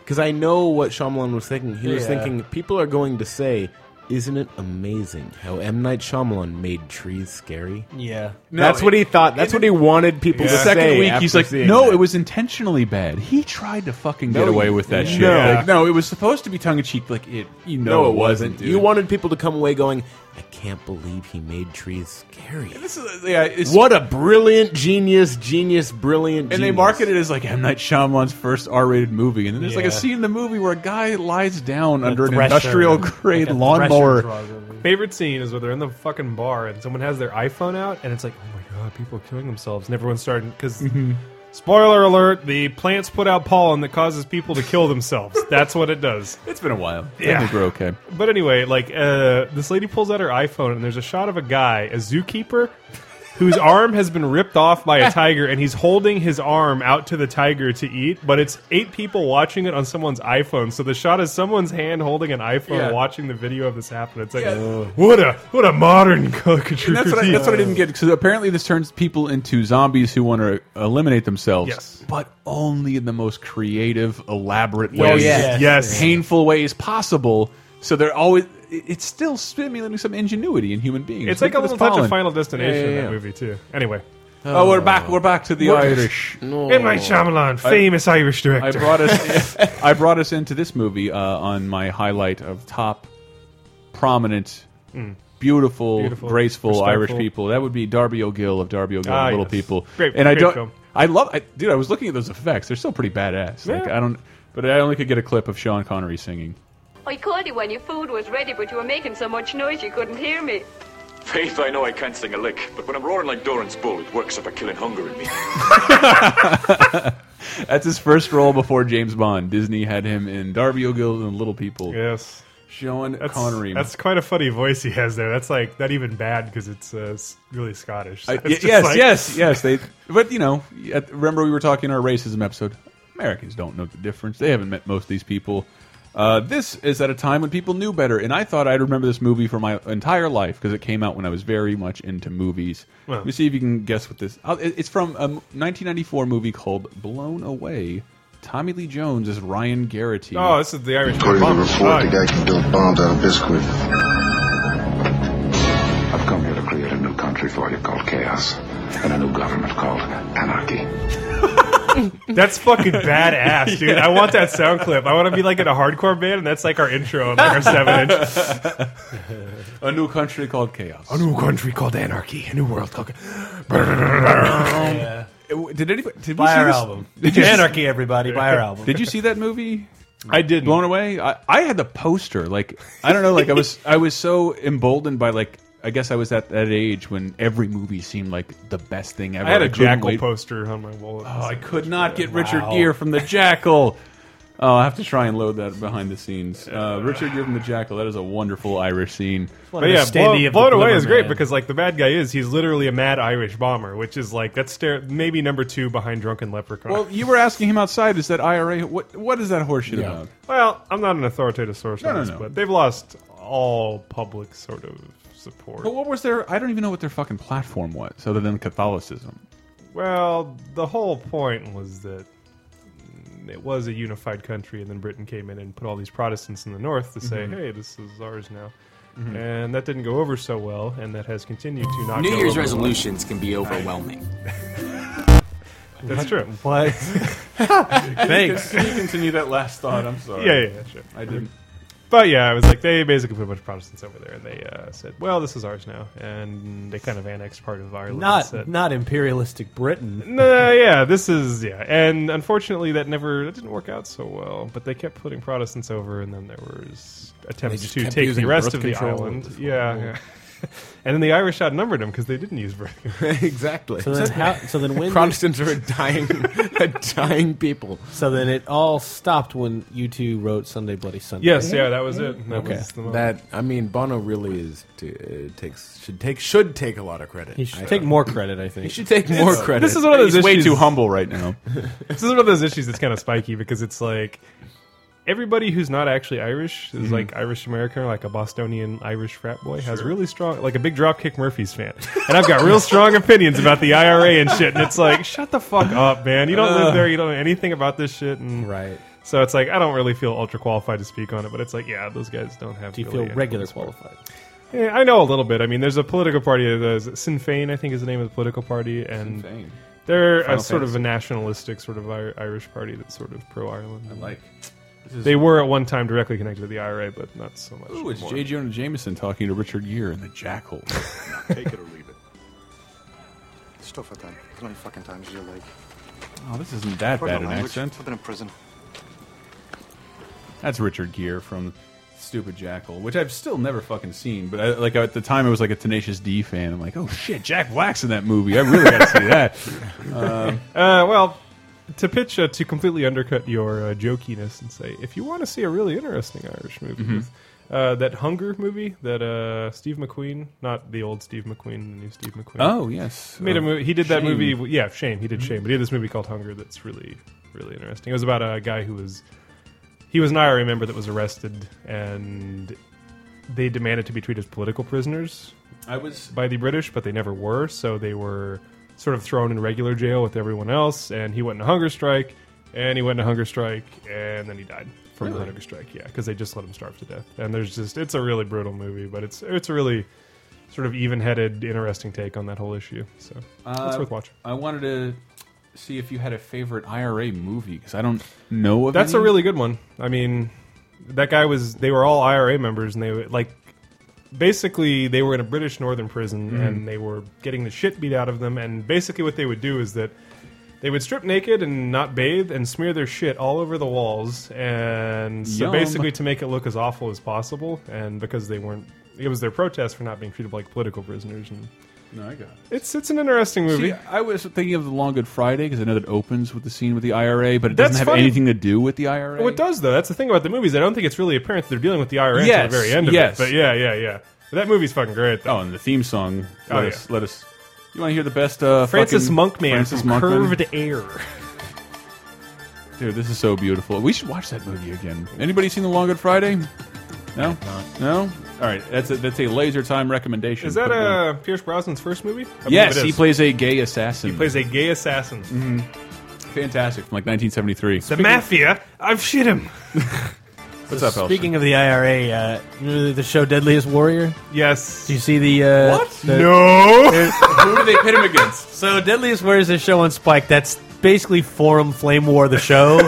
Speaker 9: because I know what Shyamalan was thinking. He was
Speaker 6: Yeah.
Speaker 9: thinking people are going to say, "Isn't it amazing how M Night Shyamalan made trees scary?"
Speaker 7: Yeah.
Speaker 6: No,
Speaker 9: that's what he thought. That's what he wanted people
Speaker 6: The
Speaker 9: to
Speaker 6: second
Speaker 9: say.
Speaker 6: week, he's
Speaker 9: after
Speaker 6: like,
Speaker 9: seeing
Speaker 6: "No,
Speaker 9: that."
Speaker 6: it was intentionally bad. He tried to fucking
Speaker 9: No,
Speaker 6: get away
Speaker 9: you-
Speaker 6: with that
Speaker 9: yeah.
Speaker 6: shit.
Speaker 9: No.
Speaker 6: Like, no, it was supposed to be tongue in cheek. Like it, you know,
Speaker 9: no, it wasn't.
Speaker 6: dude.
Speaker 9: You wanted people to come away going, "I can't believe he made trees scary."
Speaker 6: This is, yeah, it's-
Speaker 9: what a brilliant genius, genius, brilliant.
Speaker 6: And they
Speaker 9: genius.
Speaker 6: market it as like M Night Shyamalan's first R-rated movie, and then there's like
Speaker 9: Yeah.
Speaker 6: a scene in the movie where a guy lies down
Speaker 8: A
Speaker 6: under an
Speaker 8: thresher.
Speaker 6: industrial grade
Speaker 8: Like a
Speaker 6: lawnmower.
Speaker 8: thresher drug. Favorite scene is where they're in the fucking bar and someone has their iPhone out and it's like, oh my god, people are killing themselves, and everyone's starting because.
Speaker 6: Mhm.
Speaker 8: Spoiler alert: The plants put out pollen that causes people to kill themselves. That's what it does.
Speaker 6: It's been a while. I
Speaker 8: Yeah,
Speaker 6: think we're okay.
Speaker 8: But anyway, like uh, this lady pulls out her iPhone and there's a shot of a guy, a zookeeper,
Speaker 6: <laughs>
Speaker 8: whose arm has been ripped off by a tiger, and he's holding his arm out to the tiger to eat. But it's eight people watching it on someone's iPhone, so the shot is someone's hand holding an iPhone,
Speaker 6: Yeah.
Speaker 8: watching the video of this happen. It's like,
Speaker 6: Yeah.
Speaker 8: what a what a modern <laughs> caricature.
Speaker 6: And that's what I, that's what I didn't get because apparently this turns people into zombies who want to eliminate themselves.
Speaker 8: Yes.
Speaker 6: but only in the most creative, elaborate
Speaker 8: Yes.
Speaker 6: ways.
Speaker 8: Yes. Yes.
Speaker 6: painful ways possible. So they're always. it- It's still stimulating some ingenuity in human beings.
Speaker 8: It's like a
Speaker 6: Look at
Speaker 8: little
Speaker 6: this
Speaker 8: touch of
Speaker 6: pollen.
Speaker 8: Final Destination
Speaker 6: Yeah, yeah,
Speaker 8: in
Speaker 6: yeah.
Speaker 8: that movie too. Anyway,
Speaker 6: Oh, we're back. We're back to the
Speaker 8: We're-
Speaker 6: Irish.
Speaker 8: No. M. Night Shyamalan, famous Irish director.
Speaker 6: I brought us. I brought us into this movie uh, on my highlight of top prominent.
Speaker 8: Mm.
Speaker 6: Beautiful,
Speaker 8: Beautiful,
Speaker 6: graceful Irish
Speaker 8: respectful.
Speaker 6: people. That would be Darby O'Gill of Darby O'Gill,
Speaker 8: Ah,
Speaker 6: and Little
Speaker 8: yes.
Speaker 6: People.
Speaker 8: Great-
Speaker 6: and I
Speaker 8: great
Speaker 6: don't.
Speaker 8: film.
Speaker 6: I love, I, dude. I was looking at those effects. They're still pretty badass. Like I don't, but I only could get a clip of Sean Connery singing.
Speaker 16: I called you when your food was ready, but you were making so much noise you couldn't hear me.
Speaker 17: Faith, I know I can't sing a lick, but when I'm roaring like Doran's bull, it works up a killing hunger in me.
Speaker 6: <laughs> That's his first role before James Bond. Disney had him in Darby O'Gill and Little People.
Speaker 8: Yes.
Speaker 6: Sean
Speaker 8: that's,
Speaker 6: Connery.
Speaker 8: That's quite a funny voice he has there. That's like not even bad because it's uh, s- really Scottish. So <laughs>
Speaker 6: I-
Speaker 8: it's
Speaker 6: y-
Speaker 8: just
Speaker 6: yes,
Speaker 8: like-
Speaker 6: yes, yes. They, but you know, at- remember we were talking in our racism episode. Americans don't know the difference. They haven't met most of these people. Uh, this is at a time when people knew better, and I thought I'd remember this movie for my entire life because it came out when I was very much into movies.
Speaker 8: Well.
Speaker 6: Let me see if you can guess what this. I'll, it- it's from a m- 1994 movie called Blown Away. Tommy Lee Jones is Ryan Garrity.
Speaker 8: Oh, this is the Irish. Oh,
Speaker 18: guy can build bombs out of biscuit. I've come here to create a new country for you called chaos and a new government called anarchy.
Speaker 8: That's fucking <laughs> badass, dude. I want that sound clip. I want to be like in a hardcore band, and that's like our intro, and like our seven inch.
Speaker 6: a new country called chaos.
Speaker 9: A new country called anarchy. A new world called.
Speaker 6: Yeah. <laughs> Did anybody? Did we
Speaker 7: Buy
Speaker 6: see
Speaker 7: our
Speaker 6: this?
Speaker 7: album.
Speaker 6: <laughs> Did you-
Speaker 7: Anarchy, everybody,
Speaker 6: <laughs>
Speaker 7: buy our album.
Speaker 6: Did you see that movie? I did. Blown away. I, I had the poster. Like I don't know. Like I was I was so emboldened by like I guess I was at that age when every movie seemed like the best thing ever.
Speaker 8: <laughs> I had a
Speaker 6: couldn't
Speaker 8: Jackal
Speaker 6: wait-
Speaker 8: poster on my wall. Oh, I
Speaker 6: could not get Richard Gere from the Jackal. Oh, I will have to try and load that behind the scenes. Uh, Richard Gere from the Jackal. That is a wonderful Irish scene.
Speaker 8: But yeah, blown, blown away is great because like the bad guy is he's literally a mad Irish bomber, which is like that's stare- maybe number two behind Drunken Leprechaun.
Speaker 6: Well, you were asking him outside. Is that IRA? What what is that horseshit
Speaker 8: Yeah.
Speaker 6: about?
Speaker 8: Well, I'm not an authoritative source
Speaker 6: No,
Speaker 8: on
Speaker 6: no,
Speaker 8: this,
Speaker 6: no.
Speaker 8: but they've lost all public sort of support.
Speaker 6: But what was their? I don't even know what their fucking platform was, other than Catholicism.
Speaker 8: Well, the whole point was that mm, it was a unified country, and then Britain came in and put all these Protestants in the north to say,
Speaker 6: Mhm.
Speaker 8: "Hey, this is ours now."
Speaker 6: Mhm.
Speaker 8: And that didn't go over so well, and that has continued to not.
Speaker 19: New
Speaker 8: go
Speaker 19: Year's
Speaker 8: over well.
Speaker 19: resolutions can be overwhelming.
Speaker 8: <laughs> That's true.
Speaker 7: What?
Speaker 8: Thanks.
Speaker 6: Can you continue that last thought? I'm sorry.
Speaker 8: Yeah, yeah, yeah, sure.
Speaker 6: I didn't.
Speaker 8: But yeah, I was like, they basically put a bunch of Protestants over there, and they uh, said, "Well, this is ours now," and they kind of annexed part of Ireland. and
Speaker 7: Not
Speaker 8: said,
Speaker 7: not imperialistic Britain.
Speaker 8: no, yeah, this is yeah, and unfortunately that never that didn't work out so well. But they kept putting Protestants over, and then there was attempts
Speaker 9: just
Speaker 8: to
Speaker 9: kept
Speaker 8: take the
Speaker 9: using
Speaker 8: rest
Speaker 9: birth
Speaker 8: of the
Speaker 9: control.
Speaker 8: island. Yeah, yeah. <laughs> and then the Irish outnumbered them because they didn't use birth.
Speaker 9: exactly.
Speaker 7: So then how- so then when-
Speaker 9: Protestants are a dying, a dying people.
Speaker 7: So then it all stopped when you two wrote Sunday Bloody Sunday.
Speaker 8: Yes, yeah, that was it. That was the moment.
Speaker 9: that I mean, Bono really is to, uh, takes should take should take a lot of credit.
Speaker 7: He should
Speaker 9: I
Speaker 7: take
Speaker 9: thought.
Speaker 7: more credit, I think.
Speaker 9: he should take more
Speaker 8: It's-
Speaker 9: credit.
Speaker 8: This is one of those
Speaker 6: He's way
Speaker 8: issues-
Speaker 6: too humble right now.
Speaker 8: this is one of those issues that's kind of spiky because it's like everybody who's not actually Irish is
Speaker 6: Mhm.
Speaker 7: Mm-hmm.
Speaker 8: like Irish American or like a Bostonian Irish frat boy has really strong, like a big Dropkick Murphys fan, and I've got real strong opinions about the IRA and shit. And it's like, shut the fuck up, man! You don't
Speaker 6: Ugh.
Speaker 8: live there. You don't know anything about this shit. And
Speaker 7: right.
Speaker 8: So it's like I don't really feel ultra qualified to speak on it, but it's like, yeah, those guys don't have.
Speaker 7: Do you
Speaker 8: really
Speaker 7: feel
Speaker 8: any
Speaker 7: regular
Speaker 8: support.
Speaker 7: qualified?
Speaker 8: Yeah, Eh, I know a little bit. I mean, there's a political party. There's Sinn Féin, I think, is the name of the political party, and
Speaker 6: Féin.
Speaker 8: they're a
Speaker 6: Final
Speaker 8: sort of
Speaker 6: Fantasy.
Speaker 8: a nationalistic sort of Ir- Irish party that's sort of pro Ireland. I
Speaker 6: like.
Speaker 8: They were at one time directly connected to the IRA, but not so much.
Speaker 6: Ooh, it's
Speaker 8: more.
Speaker 6: J. Jonah Jameson talking to Richard Gere in the
Speaker 8: <laughs>
Speaker 6: Jackal.
Speaker 20: Take it or leave it. Stuff at them. As many fucking times as you like.
Speaker 6: oh, this isn't that
Speaker 20: Pardon
Speaker 6: bad
Speaker 20: the
Speaker 6: an
Speaker 20: language.
Speaker 6: accent.
Speaker 20: I've been in prison.
Speaker 6: That's Richard Gere from Stupid Jackal, which I've still never fucking seen. But I, like at the time, I was like a Tenacious D fan. I'm like, oh shit, Jack Black's in that movie. I really got to see
Speaker 8: <laughs>
Speaker 6: that. Um,
Speaker 8: Uh, well, to pitch uh, to completely undercut your uh, jokiness and say, if you want to see a really interesting Irish movie,
Speaker 6: Mhm.
Speaker 8: with, uh, that Hunger movie that uh, Steve McQueen, not the old Steve McQueen, the new Steve McQueen.
Speaker 6: Oh, yes.
Speaker 8: made a
Speaker 6: Uh,
Speaker 8: movie. He did that
Speaker 6: Shame.
Speaker 8: movie. w- Yeah, Shame. He did
Speaker 6: Mhm.
Speaker 8: Shame, but he had this movie called Hunger that's really, really interesting. It was about a guy who was he was an IRA member that was arrested and. They demanded to be treated as political prisoners.
Speaker 6: I was
Speaker 8: by the British, but they never were. So they were sort of thrown in regular jail with everyone else. And he went on a hunger strike, and he went on a hunger strike, and then he died from the
Speaker 6: Really?
Speaker 8: hunger strike. Yeah, because they just let him starve to death. And there's just it's a really brutal movie, but it's it's a really sort of even-headed, interesting take on that whole issue. So
Speaker 6: Uh,
Speaker 8: it's worth watching.
Speaker 6: I wanted to see if you had a favorite IRA movie because I don't know of.
Speaker 8: That's a
Speaker 6: any.
Speaker 8: really good one. I mean, that guy was. They were all IRA members, and they were, like basically they were in a British northern prison,
Speaker 6: Mhm.
Speaker 8: and they were getting the shit beat out of them. And basically, what they would do is that they would strip naked and not bathe and smear their shit all over the walls, and so
Speaker 6: Yum.
Speaker 8: basically to make it look as awful as possible. And because they weren't, it was their protest for not being treated like political prisoners. And
Speaker 6: No, I got it.
Speaker 8: it's it's an interesting movie.
Speaker 6: See, I was thinking of the Long Good Friday because I know that opens with the scene with the IRA, but it
Speaker 8: That's
Speaker 6: doesn't have
Speaker 8: funny.
Speaker 6: anything to do with the IRA.
Speaker 8: Well, it does though. That's the thing about the movies. I don't think it's really apparent that they're dealing with the IRA
Speaker 6: Yes,
Speaker 8: until the very end of
Speaker 6: yes.
Speaker 8: it. But yeah, yeah, yeah. But that movie's fucking great. Though.
Speaker 6: Oh, and the theme song.
Speaker 8: Oh,
Speaker 6: Let
Speaker 8: yeah.
Speaker 6: us. Let us. You want to hear the best? Uh,
Speaker 8: Francis
Speaker 6: fucking-
Speaker 8: Monkman
Speaker 6: Francis
Speaker 8: from
Speaker 6: Monkman.
Speaker 8: Curved Air.
Speaker 6: <laughs> Dude, this is so beautiful. We should watch that movie again. Anybody seen the Long Good Friday? No. No. All right. That's a, that's a laser time recommendation.
Speaker 8: Is that
Speaker 6: Put it down.
Speaker 8: uh, Pierce Brosnan's first movie? I believe
Speaker 6: Yes,
Speaker 8: it is.
Speaker 6: he plays Mm-hmm. a gay assassin.
Speaker 8: He plays a gay assassin.
Speaker 6: Fantastic from like 1973.
Speaker 8: The mafia. I've shit him.
Speaker 6: What's
Speaker 7: So
Speaker 6: up, Elsa?
Speaker 7: Speaking of the IRA, uh, you know the show Deadliest Warrior?
Speaker 8: Yes.
Speaker 7: Do you see the. Uh,
Speaker 6: What?
Speaker 7: the-
Speaker 6: Who do they pit him against?
Speaker 7: So Deadliest Warrior is a show on Spike that's basically Forum Flame War
Speaker 6: <laughs>
Speaker 7: the show.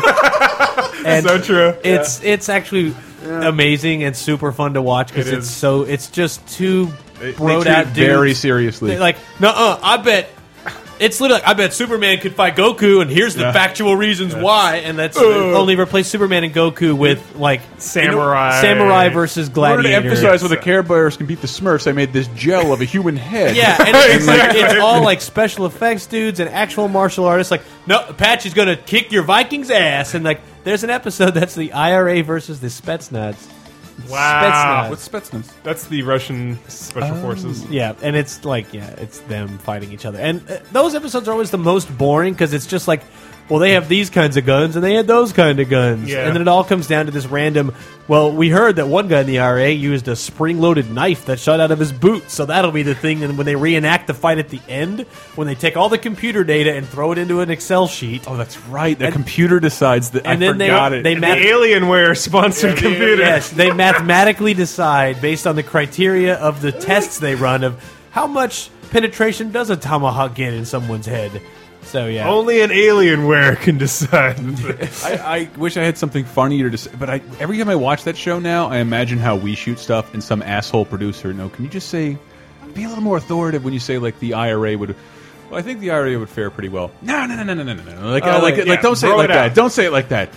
Speaker 7: and
Speaker 8: So true.
Speaker 7: It's it's actually amazing and super fun to watch because
Speaker 6: It
Speaker 7: it's
Speaker 6: is.
Speaker 7: so it's just two
Speaker 6: They- they
Speaker 7: broed
Speaker 6: treat
Speaker 7: out
Speaker 6: it
Speaker 7: dudes.
Speaker 6: very seriously.
Speaker 7: They're like, no, uh, I bet. It's literally, like, I bet Superman could fight Goku, and here's the
Speaker 8: Yeah.
Speaker 7: factual reasons
Speaker 8: Yeah.
Speaker 7: why, and that's
Speaker 8: Ugh.
Speaker 7: only replace Superman and Goku with like
Speaker 8: Samurai.
Speaker 7: samurai versus gladiator.
Speaker 8: <laughs>
Speaker 6: In order to emphasize where the Care Bears can beat the Smurfs, I made this gel of a human head.
Speaker 7: Yeah, and it's, it's, like, it's all like special effects dudes and actual martial artists. Like, no, Apache's gonna kick your Viking's ass, and like, there's an episode that's the IRA versus the Spetsnaz.
Speaker 8: Wow.
Speaker 7: Spetsnaz.
Speaker 6: Spetsnaz? Um,
Speaker 8: That's the Russian special
Speaker 7: Oh.
Speaker 8: forces.
Speaker 7: Yeah, and it's like, yeah, it's them fighting each other, and uh, those episodes are always the most boring because it's just like. Well, they have these kinds of guns, and they had those kind of guns,
Speaker 8: Yeah.
Speaker 7: and then it all comes down to this random. Well, we heard that one guy in the IRA used a spring-loaded knife that shot out of his boot, so that'll be the thing. And when they reenact the fight at the end, when they take all the computer data and throw it into an Excel sheet, oh, that's
Speaker 6: right, the computer decides that.
Speaker 7: and
Speaker 6: I
Speaker 7: then they
Speaker 6: forgot it.
Speaker 7: they
Speaker 6: And
Speaker 7: math-
Speaker 6: the
Speaker 8: Alienware sponsored computer.
Speaker 7: Yes, they mathematically decide based on the criteria of the tests they run of how much penetration does a tomahawk get in someone's head. So yeah,
Speaker 8: Only an Alienware <laughs>
Speaker 6: <laughs>
Speaker 8: can decide.
Speaker 6: I, I wish I had something funnier to say, but I, every time I watch that show now, I imagine how we shoot stuff and some asshole producer. No, can you just say, be a little more authoritative when you say like the IRA would. Well, I think the IRA would fare pretty well. No, no, no, no, no, no, no, no. Like,
Speaker 8: Oh,
Speaker 6: uh, like,
Speaker 8: yeah,
Speaker 6: like, don't say it
Speaker 8: throw
Speaker 6: like
Speaker 8: it
Speaker 6: that.
Speaker 8: out.
Speaker 6: Don't say it like that.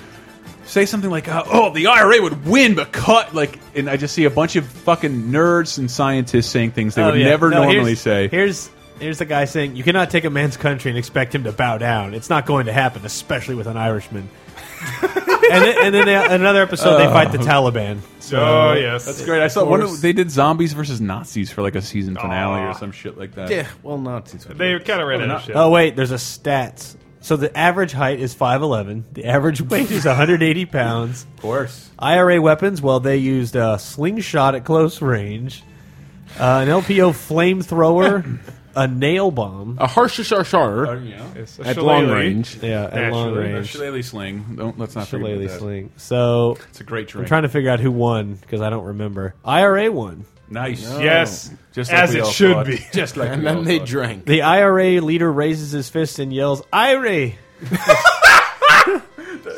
Speaker 6: Say something like, uh, "Oh, the IRA would win, but cut." Like, and I just see a bunch of fucking nerds and scientists saying things they
Speaker 7: Oh,
Speaker 6: would
Speaker 7: yeah.
Speaker 6: never
Speaker 7: No,
Speaker 6: normally
Speaker 7: here's-
Speaker 6: say.
Speaker 7: Here's here's the guy saying you cannot take a man's country and expect him to bow down. It's not going to happen, especially with an Irishman. <laughs> and, then, and then they, another episode, they fight the
Speaker 6: Oh.
Speaker 7: Taliban. So,
Speaker 8: Oh,
Speaker 6: that's great. I saw one. Of, they did zombies versus Nazis for like a season finale or some shit like that.
Speaker 9: Yeah, well, Nazis.
Speaker 8: They kinda ran out of shit.
Speaker 7: Oh wait, there's a stats. So the average height is 5'11". The average weight is 180 pounds. Of
Speaker 9: course.
Speaker 7: IRA weapons, well, they used a slingshot at close range, uh, an LPO flamethrower, a nail bomb.
Speaker 9: A Harshashashar
Speaker 6: Oh, yeah. Yes, a
Speaker 9: at long
Speaker 6: shillelagh.
Speaker 9: range.
Speaker 7: Yeah, at long
Speaker 6: Naturally.
Speaker 7: range.
Speaker 6: A shillelagh sling. Don't- let's not forget
Speaker 7: Shillelagh
Speaker 6: that.
Speaker 7: sling. So
Speaker 6: It's a great drink.
Speaker 7: I'm trying to figure out who won because I don't remember. IRA won.
Speaker 6: Nice.
Speaker 9: No.
Speaker 8: Yes.
Speaker 9: Just
Speaker 8: As
Speaker 9: like we
Speaker 8: it
Speaker 9: all
Speaker 8: should
Speaker 9: thought.
Speaker 8: be. <laughs>
Speaker 9: Just like And we then all they thought. drank.
Speaker 7: The IRA leader raises his fist and yells,
Speaker 9: <laughs>
Speaker 7: "IRA!"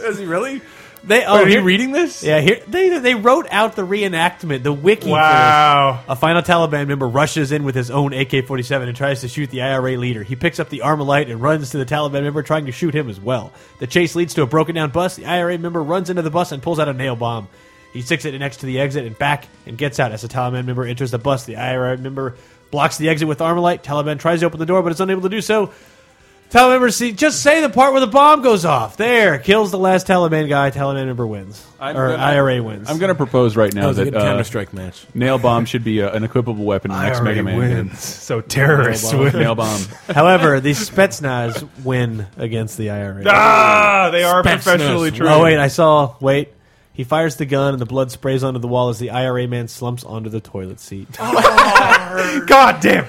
Speaker 9: Is he really?
Speaker 7: They oh,
Speaker 9: Wait, are you
Speaker 7: here-
Speaker 9: reading this?
Speaker 7: Yeah, here they they wrote out the reenactment, the wiki. for
Speaker 8: Wow.
Speaker 7: this. A final Taliban member rushes in with his own AK-47 and tries to shoot the IRA leader. He picks up the Armalite and runs to the Taliban member, trying to shoot him as well. The chase leads to a broken-down bus. The IRA member runs into the bus and pulls out a nail bomb. He sticks it next to the exit and back and gets out. As the Taliban member enters the bus, the IRA member blocks the exit with Armalite. Taliban tries to open the door but is unable to do so. Taliban member, see, just say the part where the bomb goes off. There, kills the last Taliban guy. Taliban member wins,
Speaker 6: I'm
Speaker 7: or
Speaker 6: gonna-
Speaker 7: IRA wins.
Speaker 6: I'm going to propose right now
Speaker 8: Oh,
Speaker 7: That was a
Speaker 6: that,
Speaker 7: good
Speaker 6: uh,
Speaker 7: Counter-Strike match.
Speaker 6: Nail bomb should be uh, an equipable weapon in the next
Speaker 7: IRA
Speaker 6: Mega Man. game.
Speaker 7: wins.
Speaker 8: <laughs> So terrorists
Speaker 6: nail
Speaker 8: wins.
Speaker 6: bomb. <laughs> Nail
Speaker 8: <laughs>
Speaker 6: bomb.
Speaker 7: However, the Spetsnaz win against the IRA.
Speaker 6: Oh,
Speaker 8: Ah, they are professionally trained.
Speaker 7: Oh wait, I saw. Wait, he fires the gun and the blood sprays onto the wall as the IRA man slumps onto the toilet seat.
Speaker 8: God damn.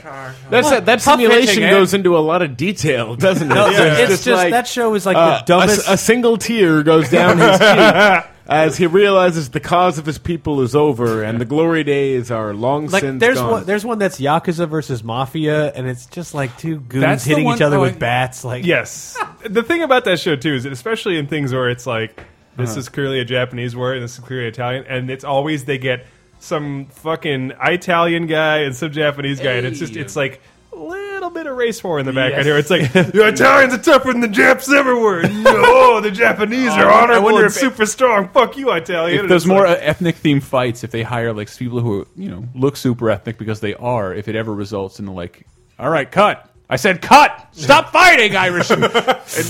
Speaker 9: That's
Speaker 7: What?
Speaker 9: that, that
Speaker 7: Tough
Speaker 9: simulation
Speaker 7: fishing, eh?
Speaker 9: goes into a lot of detail, doesn't
Speaker 7: <laughs>
Speaker 9: it?
Speaker 7: No, it's just- that show is like the dumbest-
Speaker 9: Uh, A, s- a single tear goes down his cheek as he realizes the cause of his people is over and the glory days are long
Speaker 7: Like
Speaker 9: since
Speaker 7: there's
Speaker 9: gone.
Speaker 7: one, there's one that's Yakuza versus Mafia, and it's just like two goons
Speaker 9: That's the
Speaker 7: hitting
Speaker 9: one-
Speaker 7: each other
Speaker 9: oh,
Speaker 7: with
Speaker 9: I-
Speaker 7: bats. Like
Speaker 8: Yes. the thing about that show too is, that especially in things where it's like this
Speaker 7: Uh-huh.
Speaker 8: is clearly a Japanese word and this is clearly Italian, and it's always they get some fucking Italian guy and some Japanese guy, and it's just it's like a little bit of race war in the
Speaker 6: Yes.
Speaker 8: background here. It's
Speaker 6: <laughs>
Speaker 8: like the Italians are tougher than the Japs ever were. No, the Japanese
Speaker 6: Oh, <laughs>
Speaker 8: are
Speaker 6: I wonder
Speaker 8: honorable and
Speaker 6: if-
Speaker 8: super strong. Fuck you, Italian.
Speaker 6: If
Speaker 8: And
Speaker 6: there's
Speaker 8: it's
Speaker 6: more
Speaker 8: like-
Speaker 6: uh ethnic themed fights, if they hire like people who you know look super ethnic because they are, if it ever results in like, all right, cut. I said cut. Stop fighting,
Speaker 8: <laughs>
Speaker 6: Irish. uh,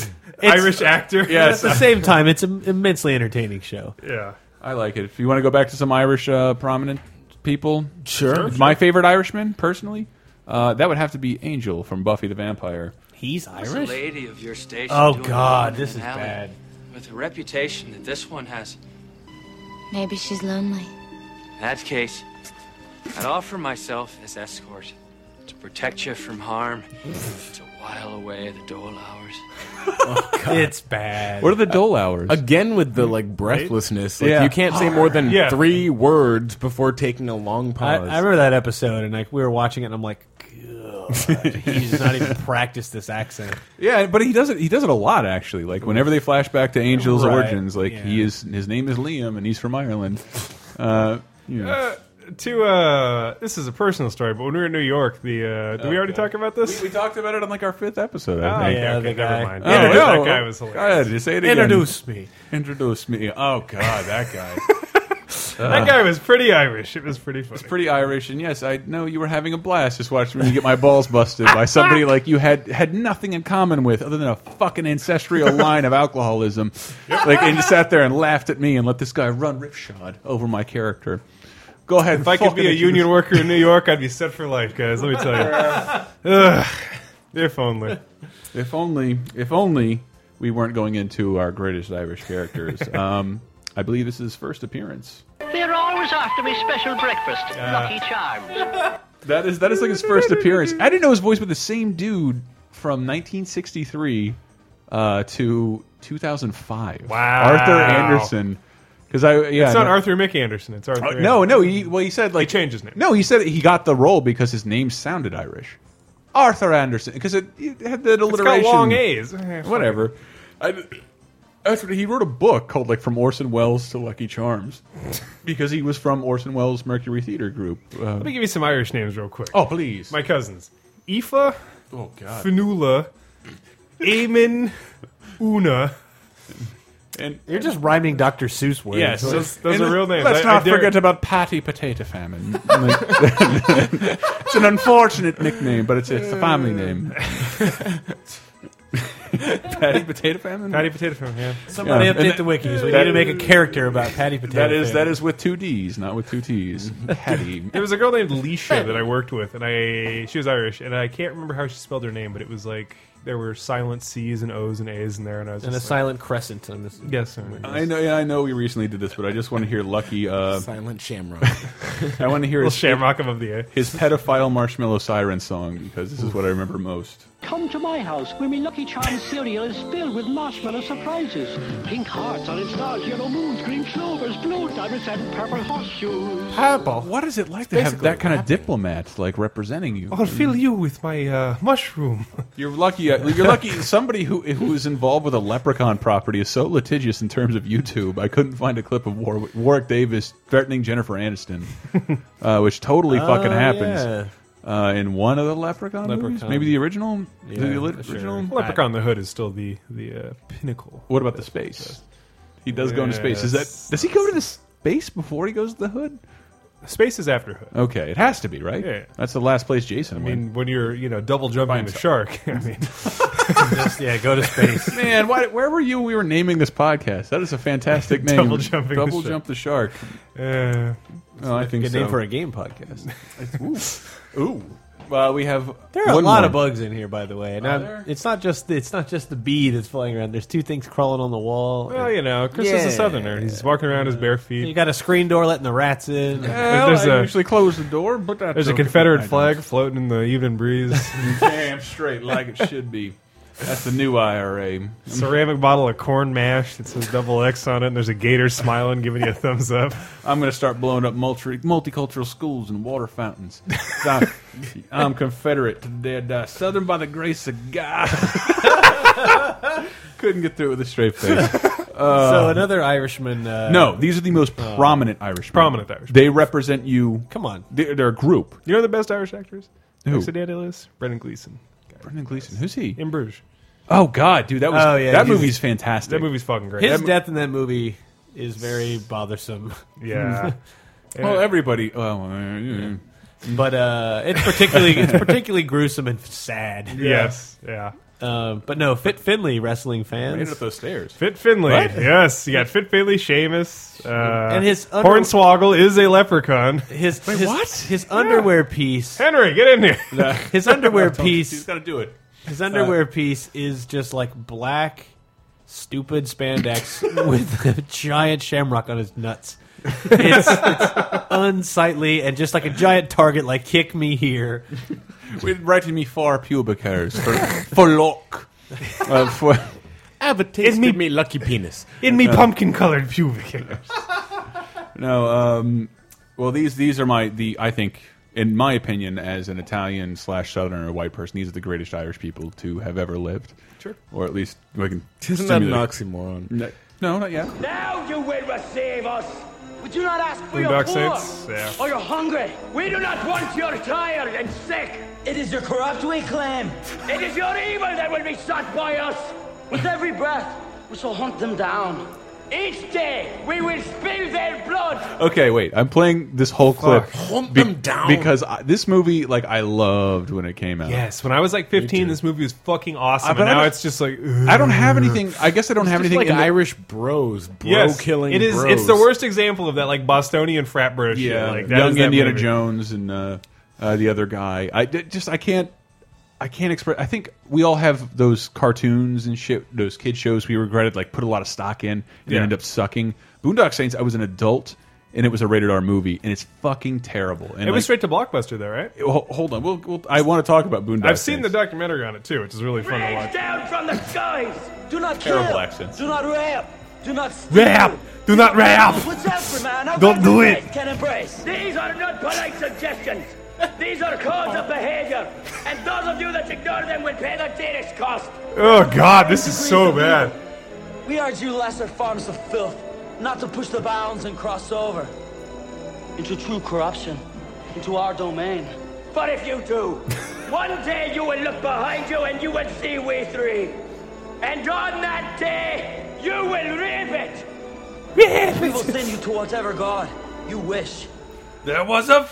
Speaker 8: Irish
Speaker 6: <laughs>
Speaker 8: actor.
Speaker 7: But at the same time, it's an immensely entertaining show.
Speaker 8: Yeah.
Speaker 6: I like it. If you want to go back to some Irish uh, prominent people,
Speaker 9: Sure. Sure, sure.
Speaker 6: My favorite Irishman, personally, uh, that would have to be Angel from Buffy the Vampire.
Speaker 7: He's
Speaker 4: There's a lady of your station.
Speaker 6: Oh,
Speaker 4: doing
Speaker 6: God,
Speaker 4: it
Speaker 6: this
Speaker 4: in
Speaker 6: is
Speaker 4: an alley.
Speaker 6: <laughs> bad.
Speaker 4: With the reputation that this one has,
Speaker 13: Maybe she's lonely.
Speaker 4: in that case, I'd offer myself as escort to protect you from harm, to while away the dole hours.
Speaker 7: It's bad.
Speaker 9: What
Speaker 6: are the dole hours?
Speaker 9: Again with the like breathlessness. Like,
Speaker 7: Yeah.
Speaker 9: You can't say more than
Speaker 7: Yeah.
Speaker 9: three words before taking a long
Speaker 7: I,
Speaker 9: pause.
Speaker 7: I remember that episode, and like we were watching it, and I'm like,
Speaker 6: <laughs>
Speaker 7: He's not even practiced this accent.
Speaker 6: Yeah, but he does it. He does it a lot, actually. Like whenever they flash back to Angel's
Speaker 7: Right,
Speaker 6: origins, like he is. His name is Liam, and he's from <laughs> Ireland. Uh, you know.
Speaker 8: Uh, to uh, this is a personal story, but when we were in New York, the uh, did we already talk about this?
Speaker 6: We, talked about it on like our fifth episode.
Speaker 8: Oh,
Speaker 6: I think.
Speaker 8: yeah, Okay, the never guy. mind.
Speaker 6: Oh,
Speaker 8: Yeah,
Speaker 6: no,
Speaker 8: that guy
Speaker 6: oh,
Speaker 8: was
Speaker 6: God,
Speaker 8: hilarious.
Speaker 6: you say it again.
Speaker 8: Introduce me.
Speaker 6: Introduce me. Oh God, that guy.
Speaker 8: that guy was pretty Irish. It was pretty funny.
Speaker 6: It's pretty Irish, and yes, I know you were having a blast just watching me get my balls busted by
Speaker 8: <laughs>
Speaker 6: somebody like you had had nothing in common with other than a fucking ancestral line of alcoholism. Like, and you sat there and laughed at me and let this guy run ripshod over my character. Go ahead.
Speaker 8: If I could be a union worker in New York, I'd be set for life, guys. Let me tell
Speaker 6: <laughs>
Speaker 8: you. Ugh. if only.
Speaker 6: If only. If only we weren't going into our greatest Irish
Speaker 8: <laughs>
Speaker 6: characters. Um, I believe this is his first appearance.
Speaker 21: They're always after me special breakfast. Lucky Charms.
Speaker 6: That is that is like his first appearance. I didn't know his voice, but the same dude from 1963 uh, to 2005. Wow, Arthur Anderson. Because I yeah,
Speaker 8: it's not
Speaker 6: no-
Speaker 8: Arthur Mickey Anderson. It's Arthur.
Speaker 6: Oh, no, no. He well, he said like
Speaker 8: he changed his name.
Speaker 6: No, he said he got the role because his name sounded Irish. Arthur Anderson, because it, it had that
Speaker 8: got
Speaker 6: alliteration.
Speaker 8: long A's. Eh,
Speaker 6: Whatever. I, that's what- he wrote a book called like from Orson Welles to Lucky Charms, because he was from Orson Welles Mercury Theater Group. Uh,
Speaker 8: Let me give you some Irish names real quick.
Speaker 6: Oh, please.
Speaker 8: My cousins. Aoife.
Speaker 6: Oh, God.
Speaker 8: Fanula. Eamon. Una.
Speaker 6: And
Speaker 7: you're just rhyming Dr. Seuss words.
Speaker 8: Yes, those- those
Speaker 6: And
Speaker 8: are real names.
Speaker 6: Let's
Speaker 8: I- I
Speaker 6: not
Speaker 8: dare-
Speaker 6: forget about Patty Potato Famine. <laughs> it's an unfortunate nickname, but it's, it's a family <laughs> name. Patty Potato Famine.
Speaker 8: Patty Potato Famine. Yeah.
Speaker 7: Somebody
Speaker 6: Yeah.
Speaker 7: update
Speaker 6: And
Speaker 7: the wikis. We
Speaker 6: that-
Speaker 7: need to make a character about Patty Potato.
Speaker 6: That is
Speaker 7: Famine.
Speaker 6: that is with two D's, not with two <laughs> T's. Patty.
Speaker 8: There was a girl named Leisha that I worked with, and I she was Irish, and I can't remember how she spelled her name, but it was like there were silent C's and O's and A's in there, and I was
Speaker 7: And a
Speaker 8: just like,
Speaker 7: silent crescent. I'm just-
Speaker 8: Yes, sir.
Speaker 6: I know. Yeah, I know. We recently did this, but I just want to hear Lucky. <laughs> Uh,
Speaker 7: <laughs>
Speaker 9: Silent Shamrock.
Speaker 6: I want to hear
Speaker 8: Little
Speaker 6: his
Speaker 8: shamrock above the air.
Speaker 6: His pedophile marshmallow siren song because this is what I remember most.
Speaker 22: Come to my house where my Lucky Charms cereal is filled with marshmallow surprises. Pink hearts, orange stars, yellow moons, green clovers, blue diamonds, and purple horseshoes.
Speaker 6: What is it like to have that kind of diplomat like representing you?
Speaker 8: I'll fill you with my uh, mushroom.
Speaker 6: You're lucky. uh, You're lucky. Somebody who who is involved with a leprechaun property is so litigious in terms of YouTube. I couldn't find a clip of War, Warwick Davis threatening Jennifer
Speaker 8: <laughs>
Speaker 6: Aniston, uh, which totally
Speaker 7: Oh,
Speaker 6: fucking happens
Speaker 7: yeah.
Speaker 6: uh, in one of the leprechaun, movies.
Speaker 8: Leprechaun.
Speaker 6: Maybe the original.
Speaker 8: Yeah,
Speaker 6: the li-
Speaker 8: sure.
Speaker 6: original.
Speaker 8: Leprechaun in the Hood is still the the uh, pinnacle.
Speaker 6: What about the space? He does go into space. Is that
Speaker 8: Yes.
Speaker 6: does he go to the space before he goes to the hood?
Speaker 8: Space is after Hood.
Speaker 6: Okay, it has to be right.
Speaker 8: Yeah.
Speaker 6: That's the last place Jason
Speaker 8: I
Speaker 6: went.
Speaker 8: mean, when you're you know double jumping the shark, <laughs> I mean,
Speaker 7: yeah, go to
Speaker 8: <laughs>
Speaker 7: space.
Speaker 6: Man, why, where were you? when We were naming this podcast. That is a
Speaker 8: <laughs>
Speaker 6: fantastic name.
Speaker 7: Double Jumping the
Speaker 6: Double
Speaker 7: Shark.
Speaker 6: jump the shark.
Speaker 8: Uh,
Speaker 6: oh, I think
Speaker 7: good
Speaker 6: so.
Speaker 7: name for a
Speaker 6: <laughs>
Speaker 7: game podcast.
Speaker 6: Ooh. Ooh. Well, we have
Speaker 7: There are
Speaker 6: one
Speaker 7: a lot
Speaker 6: more.
Speaker 7: of bugs in here, by the way. And
Speaker 6: Are
Speaker 7: I'm-
Speaker 6: there?
Speaker 7: it's not just it's not just the bee that's flying around. There's two things crawling on the wall.
Speaker 8: well, you know, Chris is
Speaker 7: Yeah.
Speaker 8: a southerner. He's walking around his bare feet.
Speaker 7: You got a screen door letting the rats in.
Speaker 8: Well, There's I a- usually
Speaker 6: close the door, but that's
Speaker 8: There's a Confederate flag floating in the evening breeze.
Speaker 7: <laughs>
Speaker 6: Damn straight, like it should be. That's the new IRA.
Speaker 8: Ceramic bottle of corn mash that says double X on it, and there's a gator smiling, giving you a thumbs up.
Speaker 6: I'm going to start blowing up multi multicultural schools and water fountains. <laughs> I'm, I'm Confederate to the day I die. Southern by the grace of God. <laughs> Couldn't get through it with a straight face. <laughs>
Speaker 7: so
Speaker 6: Uh,
Speaker 7: another Irishman. Uh,
Speaker 6: no, these are the most
Speaker 7: Oh.
Speaker 6: Uh, prominent Irishmen.
Speaker 8: Prominent Irishmen.
Speaker 6: They represent you.
Speaker 7: Come on.
Speaker 6: They're, they're a group.
Speaker 8: You know the best Irish actors?
Speaker 6: Who?
Speaker 8: Accidentalist? Brendan Gleeson.
Speaker 6: Brendan Gleeson. Who's he?
Speaker 8: In Bruges.
Speaker 6: Oh God, dude, that was
Speaker 7: Oh, yeah,
Speaker 6: that
Speaker 7: he's-
Speaker 6: movie's fantastic.
Speaker 8: That movie's fucking great.
Speaker 7: His
Speaker 8: That-
Speaker 7: death in that movie is very bothersome. <laughs>
Speaker 6: <laughs>
Speaker 8: Yeah.
Speaker 6: Well, everybody. Well, uh, yeah.
Speaker 7: but uh, it's particularly it's particularly gruesome and sad.
Speaker 8: Yes, yeah.
Speaker 7: Um, but no, Fit Finley wrestling fans
Speaker 6: Made it up those stairs.
Speaker 8: Fit Finley.
Speaker 7: What?
Speaker 8: Yes, you got Fit Finley, Seamus. Uh,
Speaker 7: And his under-
Speaker 8: Hornswoggle is a leprechaun.
Speaker 7: His, his what? His underwear
Speaker 8: <laughs>
Speaker 7: piece.
Speaker 8: Henry, get in here.
Speaker 7: His underwear
Speaker 6: I told you,
Speaker 7: piece.
Speaker 6: he's gotta do it.
Speaker 7: His underwear piece is just like black, stupid spandex <laughs> with a giant shamrock on his nuts. It's, it's unsightly and just like a giant target. Like kick me here.
Speaker 6: We're writing me four pubic hairs for <laughs> for lock. Uh, for
Speaker 9: Advertise me, me lucky penis.
Speaker 8: <laughs> In me
Speaker 6: Uh,
Speaker 8: pumpkin colored pubic hairs.
Speaker 6: no, um, well these these are my the I think in my opinion, as an Italian slash Southerner or white person, these are the greatest Irish people to have ever lived.
Speaker 9: Sure.
Speaker 6: Or at least we can.
Speaker 9: Isn't that an
Speaker 6: stimulate-
Speaker 9: oxymoron?
Speaker 6: No, no, not yet.
Speaker 2: Now you will receive us. Would you not ask for
Speaker 6: Bring
Speaker 2: your
Speaker 6: back
Speaker 2: poor
Speaker 6: seats? Yeah.
Speaker 2: or your hungry? We do not want your tired and sick. It is your corrupt we claim. It is your evil that will be sought by us. With every breath, we shall hunt them down. Each day, we will spill their blood.
Speaker 6: Okay, wait. I'm playing this whole clip
Speaker 2: Hump
Speaker 6: be-
Speaker 2: them down.
Speaker 6: because I, this movie, like, I loved when it came out.
Speaker 8: Yes, when I was like 15, this movie was fucking awesome.
Speaker 6: Uh, but
Speaker 8: and
Speaker 6: I
Speaker 8: now
Speaker 6: don't-
Speaker 8: it's just like
Speaker 6: I don't have anything. I guess I don't have anything. in the-
Speaker 9: bros, bro
Speaker 8: yes, It is. It's the worst example of that, like Bostonian frat bro. shit.
Speaker 6: Yeah,
Speaker 8: like, that
Speaker 6: young
Speaker 8: is that
Speaker 6: Indiana
Speaker 8: movie.
Speaker 6: Jones and uh, uh, the other guy. I d- just I can't I can't express. I think we all have those cartoons and shit, those kid shows we regretted like put a lot of stock in and they
Speaker 8: Yeah.
Speaker 6: end up sucking. Boondock Saints. I was an adult and it was a rated R movie and it's fucking terrible. And
Speaker 8: It was
Speaker 6: like,
Speaker 8: straight to blockbuster, though, right?
Speaker 6: ho- hold on, we'll, we'll, I want to talk about Boondock.
Speaker 8: I've seen
Speaker 6: Saints.
Speaker 8: the documentary on it too, which is really fun to watch.
Speaker 2: Down from the skies. Do not
Speaker 6: Terrible
Speaker 2: kill.
Speaker 6: accents.
Speaker 2: Do not rape. Do not steal.
Speaker 8: Rap, do not rap.
Speaker 2: What's up, for man? How
Speaker 8: Don't
Speaker 2: about
Speaker 8: do
Speaker 2: you
Speaker 8: it.
Speaker 2: guys Can embrace. These are not polite suggestions. These are codes of behavior, and those of you that ignore them will pay the dearest cost.
Speaker 8: Oh God, this is so bad.
Speaker 2: We urge you lesser forms of filth, not to push the bounds and cross over into true corruption, into our domain. But if you <laughs> do, one day you will look behind you and you will see we three. And on that day, you will reap it. we will send you to whatever god you wish.
Speaker 8: There was a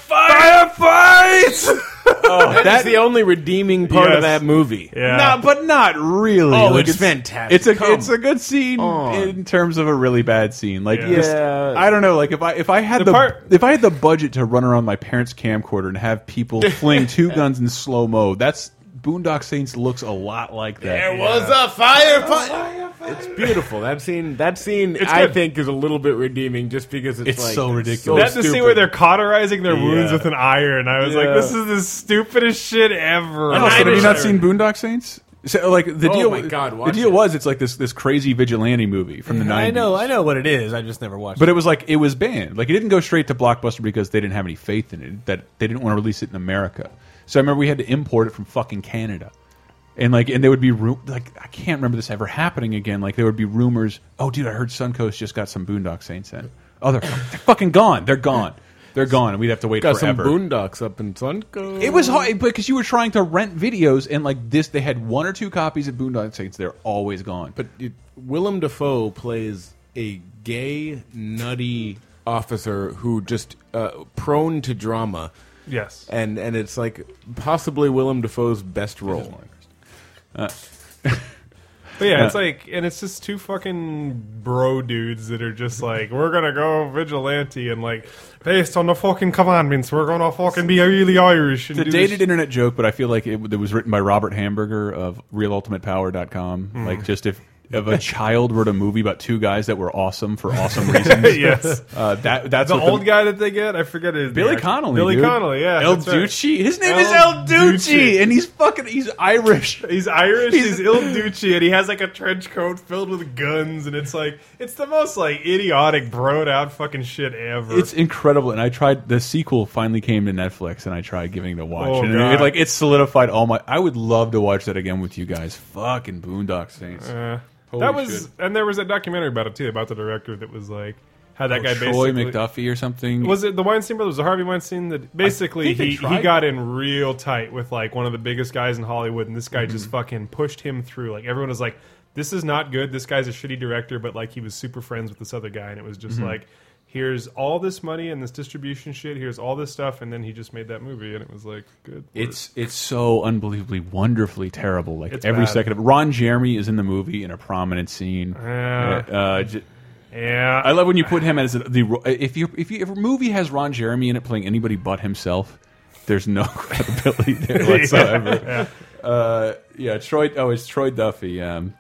Speaker 8: firefight.
Speaker 9: Oh, that's the only redeeming part of
Speaker 6: Yes.
Speaker 9: that movie.
Speaker 6: Yeah. No, but not really.
Speaker 9: Oh,
Speaker 6: Like,
Speaker 9: it's fantastic.
Speaker 6: It's a
Speaker 9: Come
Speaker 6: it's a good scene
Speaker 9: on.
Speaker 6: in terms of a really bad scene. Like,
Speaker 9: Yeah.
Speaker 6: just-
Speaker 9: Yeah.
Speaker 6: I don't know. Like, if I if I had the,
Speaker 9: The part-
Speaker 6: if I had the budget to run around my parents' camcorder and have
Speaker 9: <laughs>
Speaker 6: people fling two guns in slow mo, that's Boondock Saints looks a lot like that.
Speaker 9: There was a firefight. It's beautiful. That scene, that scene,
Speaker 8: It's
Speaker 9: I
Speaker 8: good.
Speaker 9: think is a little bit redeeming, just because it's,
Speaker 6: It's
Speaker 9: like,
Speaker 6: so
Speaker 8: That's the scene where they're cauterizing their
Speaker 9: Yeah.
Speaker 8: wounds with an iron. I was like,
Speaker 9: Yeah.
Speaker 8: this is the stupidest shit
Speaker 6: Oh,
Speaker 8: ever.
Speaker 6: so have you not seen Boondock Saints? So, like the
Speaker 9: Oh
Speaker 6: deal,
Speaker 9: my God,
Speaker 6: the
Speaker 9: watch
Speaker 6: deal was it's like this this crazy vigilante movie from the
Speaker 8: <laughs>
Speaker 6: nineties.
Speaker 7: I know, I know what it is. I just never watched.
Speaker 6: But
Speaker 7: it.
Speaker 6: it was like it was banned. Like it didn't go straight to Blockbuster because they didn't have any faith in it. That they didn't want to release it in America. So I remember we had to import it from fucking Canada. And like, and there would be ru- like, I can't remember this ever happening again. Like, there would be rumors. Oh, dude, I heard Suncoast just got some Boondock Saints in. Oh, they're, they're fucking gone. They're gone. They're gone. And we'd have to wait
Speaker 9: got
Speaker 6: forever.
Speaker 9: some boondocks up in Sunco.
Speaker 6: It was hard because you were trying to rent videos, and like this, they had one or two copies of Boondock Saints. They're always gone.
Speaker 9: But it, Willem Dafoe plays a gay, nutty officer who just uh, prone to drama.
Speaker 8: Yes.
Speaker 9: and and it's like possibly Willem Dafoe's best role.
Speaker 8: But yeah,
Speaker 9: Yeah.
Speaker 8: it's like, and it's just two fucking bro dudes that are just like, we're gonna go vigilante and like, based on the fucking commandments, we're gonna fucking be really Irish. And
Speaker 6: It's a
Speaker 8: do
Speaker 6: dated
Speaker 8: this.
Speaker 6: internet joke, but I feel like it, it was written by Robert Hamburger of RealUltimatePower.com.
Speaker 8: Mm.
Speaker 6: Like, just if if a child wrote a movie about two guys that were awesome for awesome
Speaker 8: <laughs>
Speaker 6: reasons, <laughs>
Speaker 8: Yes.
Speaker 6: uh, that that's
Speaker 8: the
Speaker 6: what the-
Speaker 8: old guy that they get. I forget his
Speaker 6: Billy
Speaker 8: name.
Speaker 6: Connolly,
Speaker 8: Billy
Speaker 6: dude.
Speaker 8: Connolly, yeah,
Speaker 6: El
Speaker 8: that's right.
Speaker 6: Ducci. His name is El Ducci, and he's fucking he's
Speaker 8: <laughs>
Speaker 6: Irish.
Speaker 8: He's Irish. He's, Il Ducci, and he has like a trench coat filled with guns, and it's like it's the most like idiotic, broed out fucking shit ever.
Speaker 6: It's incredible, and I tried. The sequel finally came to Netflix, and I tried giving it a watch,
Speaker 8: Oh,
Speaker 6: and
Speaker 8: God.
Speaker 6: it, like it solidified all my. I would love to watch that again with you guys. Fucking Boondock Saints.
Speaker 8: Uh,
Speaker 6: Holy
Speaker 8: that was,
Speaker 6: shit.
Speaker 8: and there was a documentary about it too, about the director that was like how that
Speaker 6: Oh,
Speaker 8: guy
Speaker 6: Troy
Speaker 8: basically
Speaker 6: McDuffie or something.
Speaker 8: Was it the Weinstein brothers? Was it Harvey Weinstein that basically
Speaker 6: think they
Speaker 8: he,
Speaker 6: tried
Speaker 8: he got in real tight with like one of the biggest guys in Hollywood, and this guy just
Speaker 6: Mm-hmm.
Speaker 8: fucking pushed him through. Like everyone was like, "This is not good. This guy's a shitty director," but like he was super friends with this other guy, and it was just
Speaker 6: Mhm.
Speaker 8: like, "Here's all this money and this distribution shit. Here's all this stuff," and then he just made that movie, and it was like, "Good."
Speaker 6: It's it's so unbelievably wonderfully terrible. Like
Speaker 8: It's
Speaker 6: every
Speaker 8: bad.
Speaker 6: second of Ron Jeremy is in the movie in a prominent scene.
Speaker 8: Yeah.
Speaker 6: Uh, j-
Speaker 8: yeah.
Speaker 6: I love when you put him as the ro- if you if you if a movie has Ron Jeremy in it playing anybody but himself, there's no <laughs> credibility there
Speaker 8: Yeah.
Speaker 6: whatsoever.
Speaker 8: Yeah.
Speaker 6: Uh, yeah, Troy. Oh, it's Troy Duffy. Um,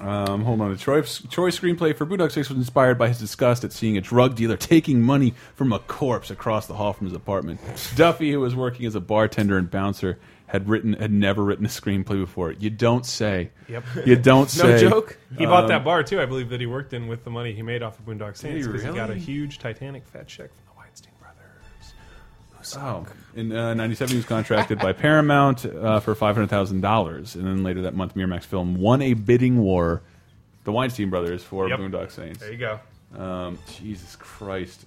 Speaker 6: um, hold on. Troy, Troy's screenplay for Boondock Six was inspired by his disgust at seeing a drug dealer taking money from a corpse across the hall from his apartment. Duffy, who was working as a bartender and bouncer, had written had never written a screenplay before. You don't say.
Speaker 8: Yep.
Speaker 6: You don't
Speaker 8: <laughs> No
Speaker 6: say.
Speaker 8: joke. He bought
Speaker 6: Um,
Speaker 8: that bar too, I believe, that he worked in with the money he made off of Boondock Saints
Speaker 6: Did he
Speaker 8: because he got a
Speaker 6: really?
Speaker 8: huge Titanic fat check from the Weinstein brothers, who
Speaker 6: Oh, in uh, '97, he was contracted by Paramount uh, for five hundred thousand dollars, and then later that month, Miramax Film won a bidding war, the Weinstein brothers for
Speaker 8: Yep.
Speaker 6: Boondock Saints.
Speaker 8: There you go.
Speaker 6: Um, Jesus Christ.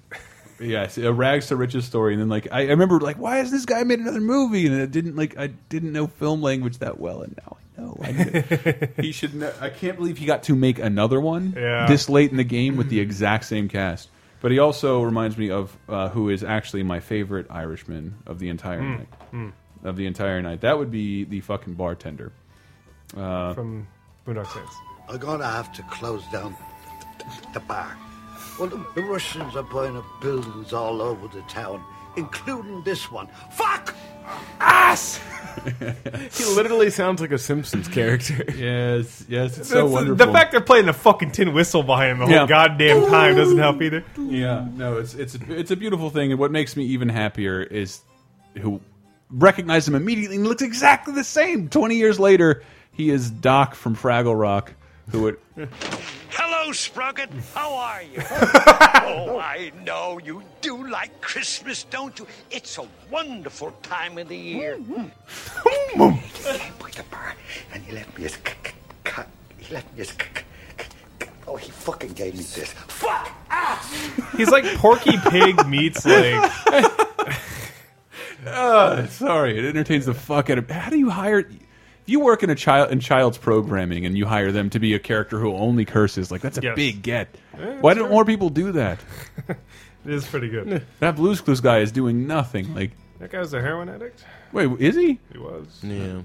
Speaker 6: Yes, a rags to riches story, and then like I, I remember, like why has this guy made another movie? And I didn't like I didn't know film language that well, and now I know. I <laughs> kn- he should. Know, I can't believe he got to make another one
Speaker 8: Yeah.
Speaker 6: this late in the game with the exact same cast. But he also reminds me of uh, who is actually my favorite Irishman of the entire
Speaker 8: Mm,
Speaker 6: night.
Speaker 8: mm.
Speaker 6: Of the entire night, that would be the fucking bartender. Uh,
Speaker 8: From Boondock Saints.
Speaker 1: I'm going to have to close down the bar. Well, the, the Russians are buying up buildings all over the town, including this one. Fuck! Ass!
Speaker 9: he literally sounds like a Simpsons character.
Speaker 6: yes, yes,
Speaker 8: That's- The fact they're playing the fucking tin whistle behind him the whole
Speaker 6: Yeah.
Speaker 8: goddamn time doesn't help either.
Speaker 6: Yeah, no, it's it's it's a beautiful thing, and what makes me even happier is who recognized him immediately and looks exactly the same. Twenty years later, he is Doc from Fraggle Rock, who
Speaker 8: <laughs>
Speaker 6: would
Speaker 3: Hello, Sprocket. How are
Speaker 1: <laughs>
Speaker 3: you? oh, I know you do like Christmas, don't you? It's a wonderful time of the year.
Speaker 1: And he left me his c- c- cut. He left me his. c- c- c- Oh, he fucking gave me this. Fuck! Ass!
Speaker 8: He's like Porky Pig meets <laughs> like.
Speaker 6: Uh, sorry, it entertains the fuck out of. How do you hire? If you work in a child in child's programming and you hire them to be a character who only curses, like that's a
Speaker 8: Yes.
Speaker 6: big get.
Speaker 8: Yeah,
Speaker 6: Why
Speaker 8: sure.
Speaker 6: don't more people do that?
Speaker 8: It is pretty good.
Speaker 6: That Blue's Clues guy is doing nothing. Like,
Speaker 8: <laughs> That guy was a heroin addict.
Speaker 6: wait, is he?
Speaker 8: He was.
Speaker 9: Yeah.
Speaker 6: Oh,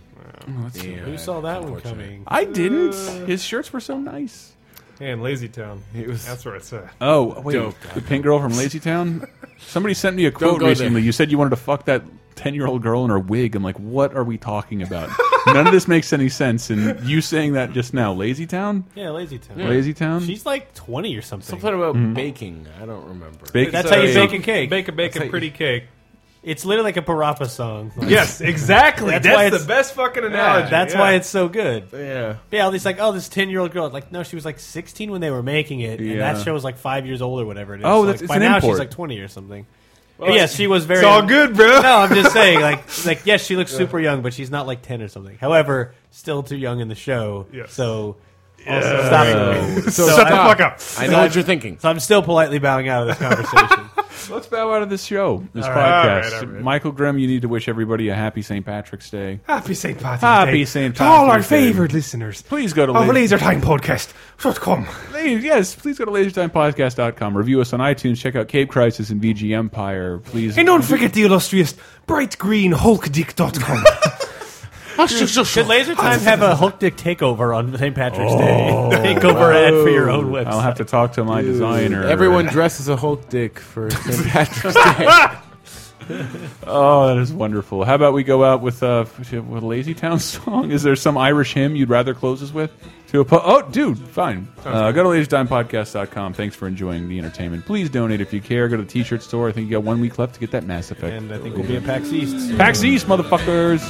Speaker 6: that's too
Speaker 7: Who
Speaker 6: bad.
Speaker 7: saw that one coming?
Speaker 6: I didn't.
Speaker 8: Uh,
Speaker 6: His shirts were so nice.
Speaker 8: And Lazy Town.
Speaker 9: It was.
Speaker 8: That's where it's at.
Speaker 6: Oh wait,
Speaker 8: Dope.
Speaker 6: the pink girl from Lazy Town. Somebody sent me a quote
Speaker 8: go
Speaker 6: recently.
Speaker 8: there.
Speaker 6: You said you wanted to fuck that ten-year-old girl in her wig. I'm like, what are we talking about? None of this makes any sense. And you saying that just now, Lazy Town.
Speaker 7: Yeah, Lazy Town.
Speaker 6: Lazy Town?
Speaker 7: She's like twenty or something.
Speaker 9: Something about
Speaker 6: Mhm.
Speaker 9: baking. I don't remember.
Speaker 6: Baking
Speaker 7: That's how you
Speaker 6: soda.
Speaker 7: bake a cake.
Speaker 8: Bake a bake
Speaker 7: That's
Speaker 8: a
Speaker 7: how you-
Speaker 8: pretty cake.
Speaker 7: It's literally like a Parappa song. Like-
Speaker 8: <laughs> Yes, exactly. <laughs> That's,
Speaker 7: why
Speaker 8: the
Speaker 7: it's-
Speaker 8: best fucking
Speaker 7: Yeah,
Speaker 8: analogy.
Speaker 7: that's
Speaker 8: yeah.
Speaker 7: why it's so good.
Speaker 9: Yeah.
Speaker 7: Yeah, all these like, oh, this ten year old girl. Like, no, she was like sixteen when they were making it, and
Speaker 6: Yeah.
Speaker 7: that show was like five years old or whatever it is.
Speaker 6: Oh,
Speaker 7: So,
Speaker 6: that's-
Speaker 7: like,
Speaker 6: it's
Speaker 7: by
Speaker 6: an
Speaker 7: now
Speaker 6: import.
Speaker 7: she's like twenty or something.
Speaker 6: Well,
Speaker 7: But yeah,
Speaker 6: it's-
Speaker 7: she was very.
Speaker 6: it's all good, bro.
Speaker 7: <laughs> No, I'm just saying,
Speaker 6: <laughs>
Speaker 7: like, like yes, she looks super young, but she's not like ten or something. However, still too young in the show. So. Also,
Speaker 9: Yeah.
Speaker 6: <laughs>
Speaker 7: stop.
Speaker 9: So- Shut the fuck up. I know what you're
Speaker 7: thinking. So I'm still politely bowing out of this conversation.
Speaker 6: Let's bow out of this show, this
Speaker 7: All right.
Speaker 6: podcast.
Speaker 7: All right, all right.
Speaker 6: Michael Grimm, you need to wish everybody a happy St. Patrick's Day.
Speaker 8: Happy St. Patrick's
Speaker 6: Happy
Speaker 8: Day.
Speaker 6: St.
Speaker 8: To all our
Speaker 6: Patrick's Day.
Speaker 8: favorite listeners.
Speaker 6: Please go to
Speaker 8: of
Speaker 6: Laser-
Speaker 8: Lasertime Podcast. Come.
Speaker 6: Oh, Please, yes, please go to lasertimepodcast.com. Review us on iTunes. Check out Cape Crisis and VG Empire. Please.
Speaker 8: And don't forget the illustrious brightgreenhulkdick.com.
Speaker 7: <laughs> Should Laser Time have a Hulk Dick takeover on St. Patrick's Day? <laughs> takeover ad for your own website.
Speaker 6: Oh. I'll have to talk to my
Speaker 9: Dude,
Speaker 6: designer.
Speaker 9: Everyone dresses a Hulk dick for <laughs> St. Patrick's Day.
Speaker 6: Oh, that is wonderful. How about we go out with uh, with a Lazy Town <laughs> song? Is there some Irish hymn you'd rather close us with? To a po- oh, dude, fine. Uh, go to lasertimepodcast.com. Thanks for enjoying the entertainment. Please donate if you care. Go to the T-shirt store. I think you got one week left to get that Mass Effect.
Speaker 7: And I think we'll be at PAX East.
Speaker 6: PAX East, motherfuckers.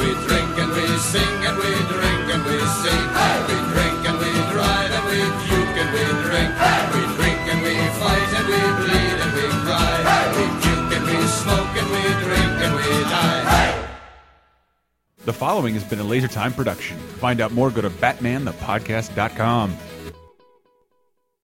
Speaker 23: We drink and we sing and we drink and we sing. We drink and we drive and we puke and we drink. We drink and we fight and we bleed and we cry. We puke and we smoke and we drink and we die.
Speaker 6: The following has been a Laser Time production. Find out more, go to batmanthepodcast.com.